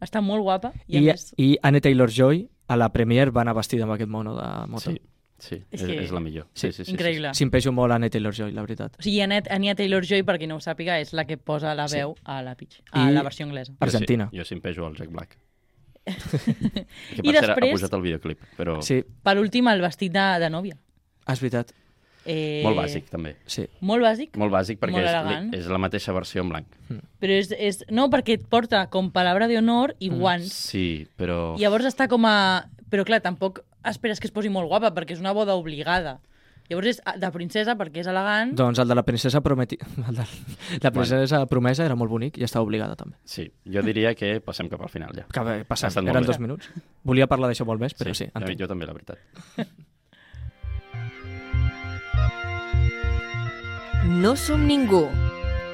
Està molt guapa. I,
I,
a més...
i Anne Taylor-Joy a la Premiere va anar vestida amb aquest mono de moto.
Sí, sí,
És
és,
que-
és la millor. Sí, sí, sí, sí,
Increïble.
S'impejo molt Anne Taylor-Joy, la veritat.
O sigui, Annette, Anya Taylor-Joy, per qui no ho sàpiga, és la que posa la
Sí.
veu sí. a la pitch, a
I-
la versió anglesa.
Jo sí-
Argentina.
Jo simpejo el Jack Black. que
I
per cert, ha
després-
pujat el videoclip, però sí.
Sí,
Per últim, el vestit de, de nòvia.
és veritat.
Eh,
molt bàsic, també.
Sí.
Molt bàsic,
Molt bàsic perquè
Molt
és,
elegant.
li- és la mateixa versió en blanc.
però és, és... No, perquè et porta com palabra d'honor
Mm.
i guants.
Sí, però...
Llavors està com a... Però clar, tampoc esperes que es posi molt guapa, perquè és una boda obligada. Llavors és de princesa perquè és
Mm.
elegant.
Doncs el de la princesa prometi... El de... La princesa promesa era molt bonic i estava obligada també.
Sí, jo diria que passem cap al final ja.
Que bé,
Ha
passat,
estat molt
eren
bé.
dos minuts. Volia parlar d'això molt més, però sí,
ja,
entenc.
eh, jo també, la veritat.
No som ningú.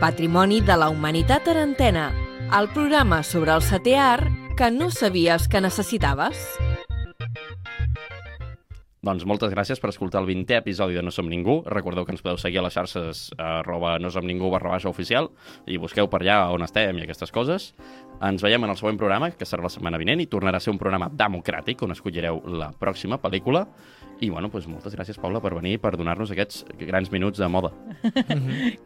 Patrimoni de la Humanitat Arantena, el programa sobre el setè art que no sabies que necessitaves.
Doncs moltes gràcies per escoltar el 20è episodi de No Som Ningú. Recordeu que ens podeu seguir a les xarxes eh, arroba no som ningú barra baixa oficial i busqueu per allà on estem i aquestes coses. Ens veiem en el següent programa, que serà la setmana vinent, i tornarà a ser un programa democràtic on escollireu la pròxima pel·lícula. I, bueno, doncs moltes gràcies, Paula, per venir i per donar-nos aquests grans minuts de moda.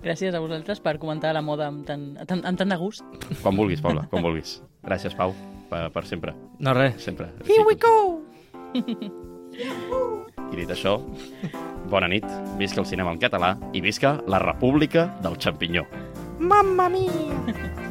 Gràcies a vosaltres per comentar la moda amb tant, tan, amb tant de gust.
Quan vulguis, Paula, quan vulguis. Gràcies, Pau, per, per sempre.
No, res.
sempre.
Here we go!
I dit això, bona nit, visca el cinema en català i visca la República del Xampinyó.
Mamma mia!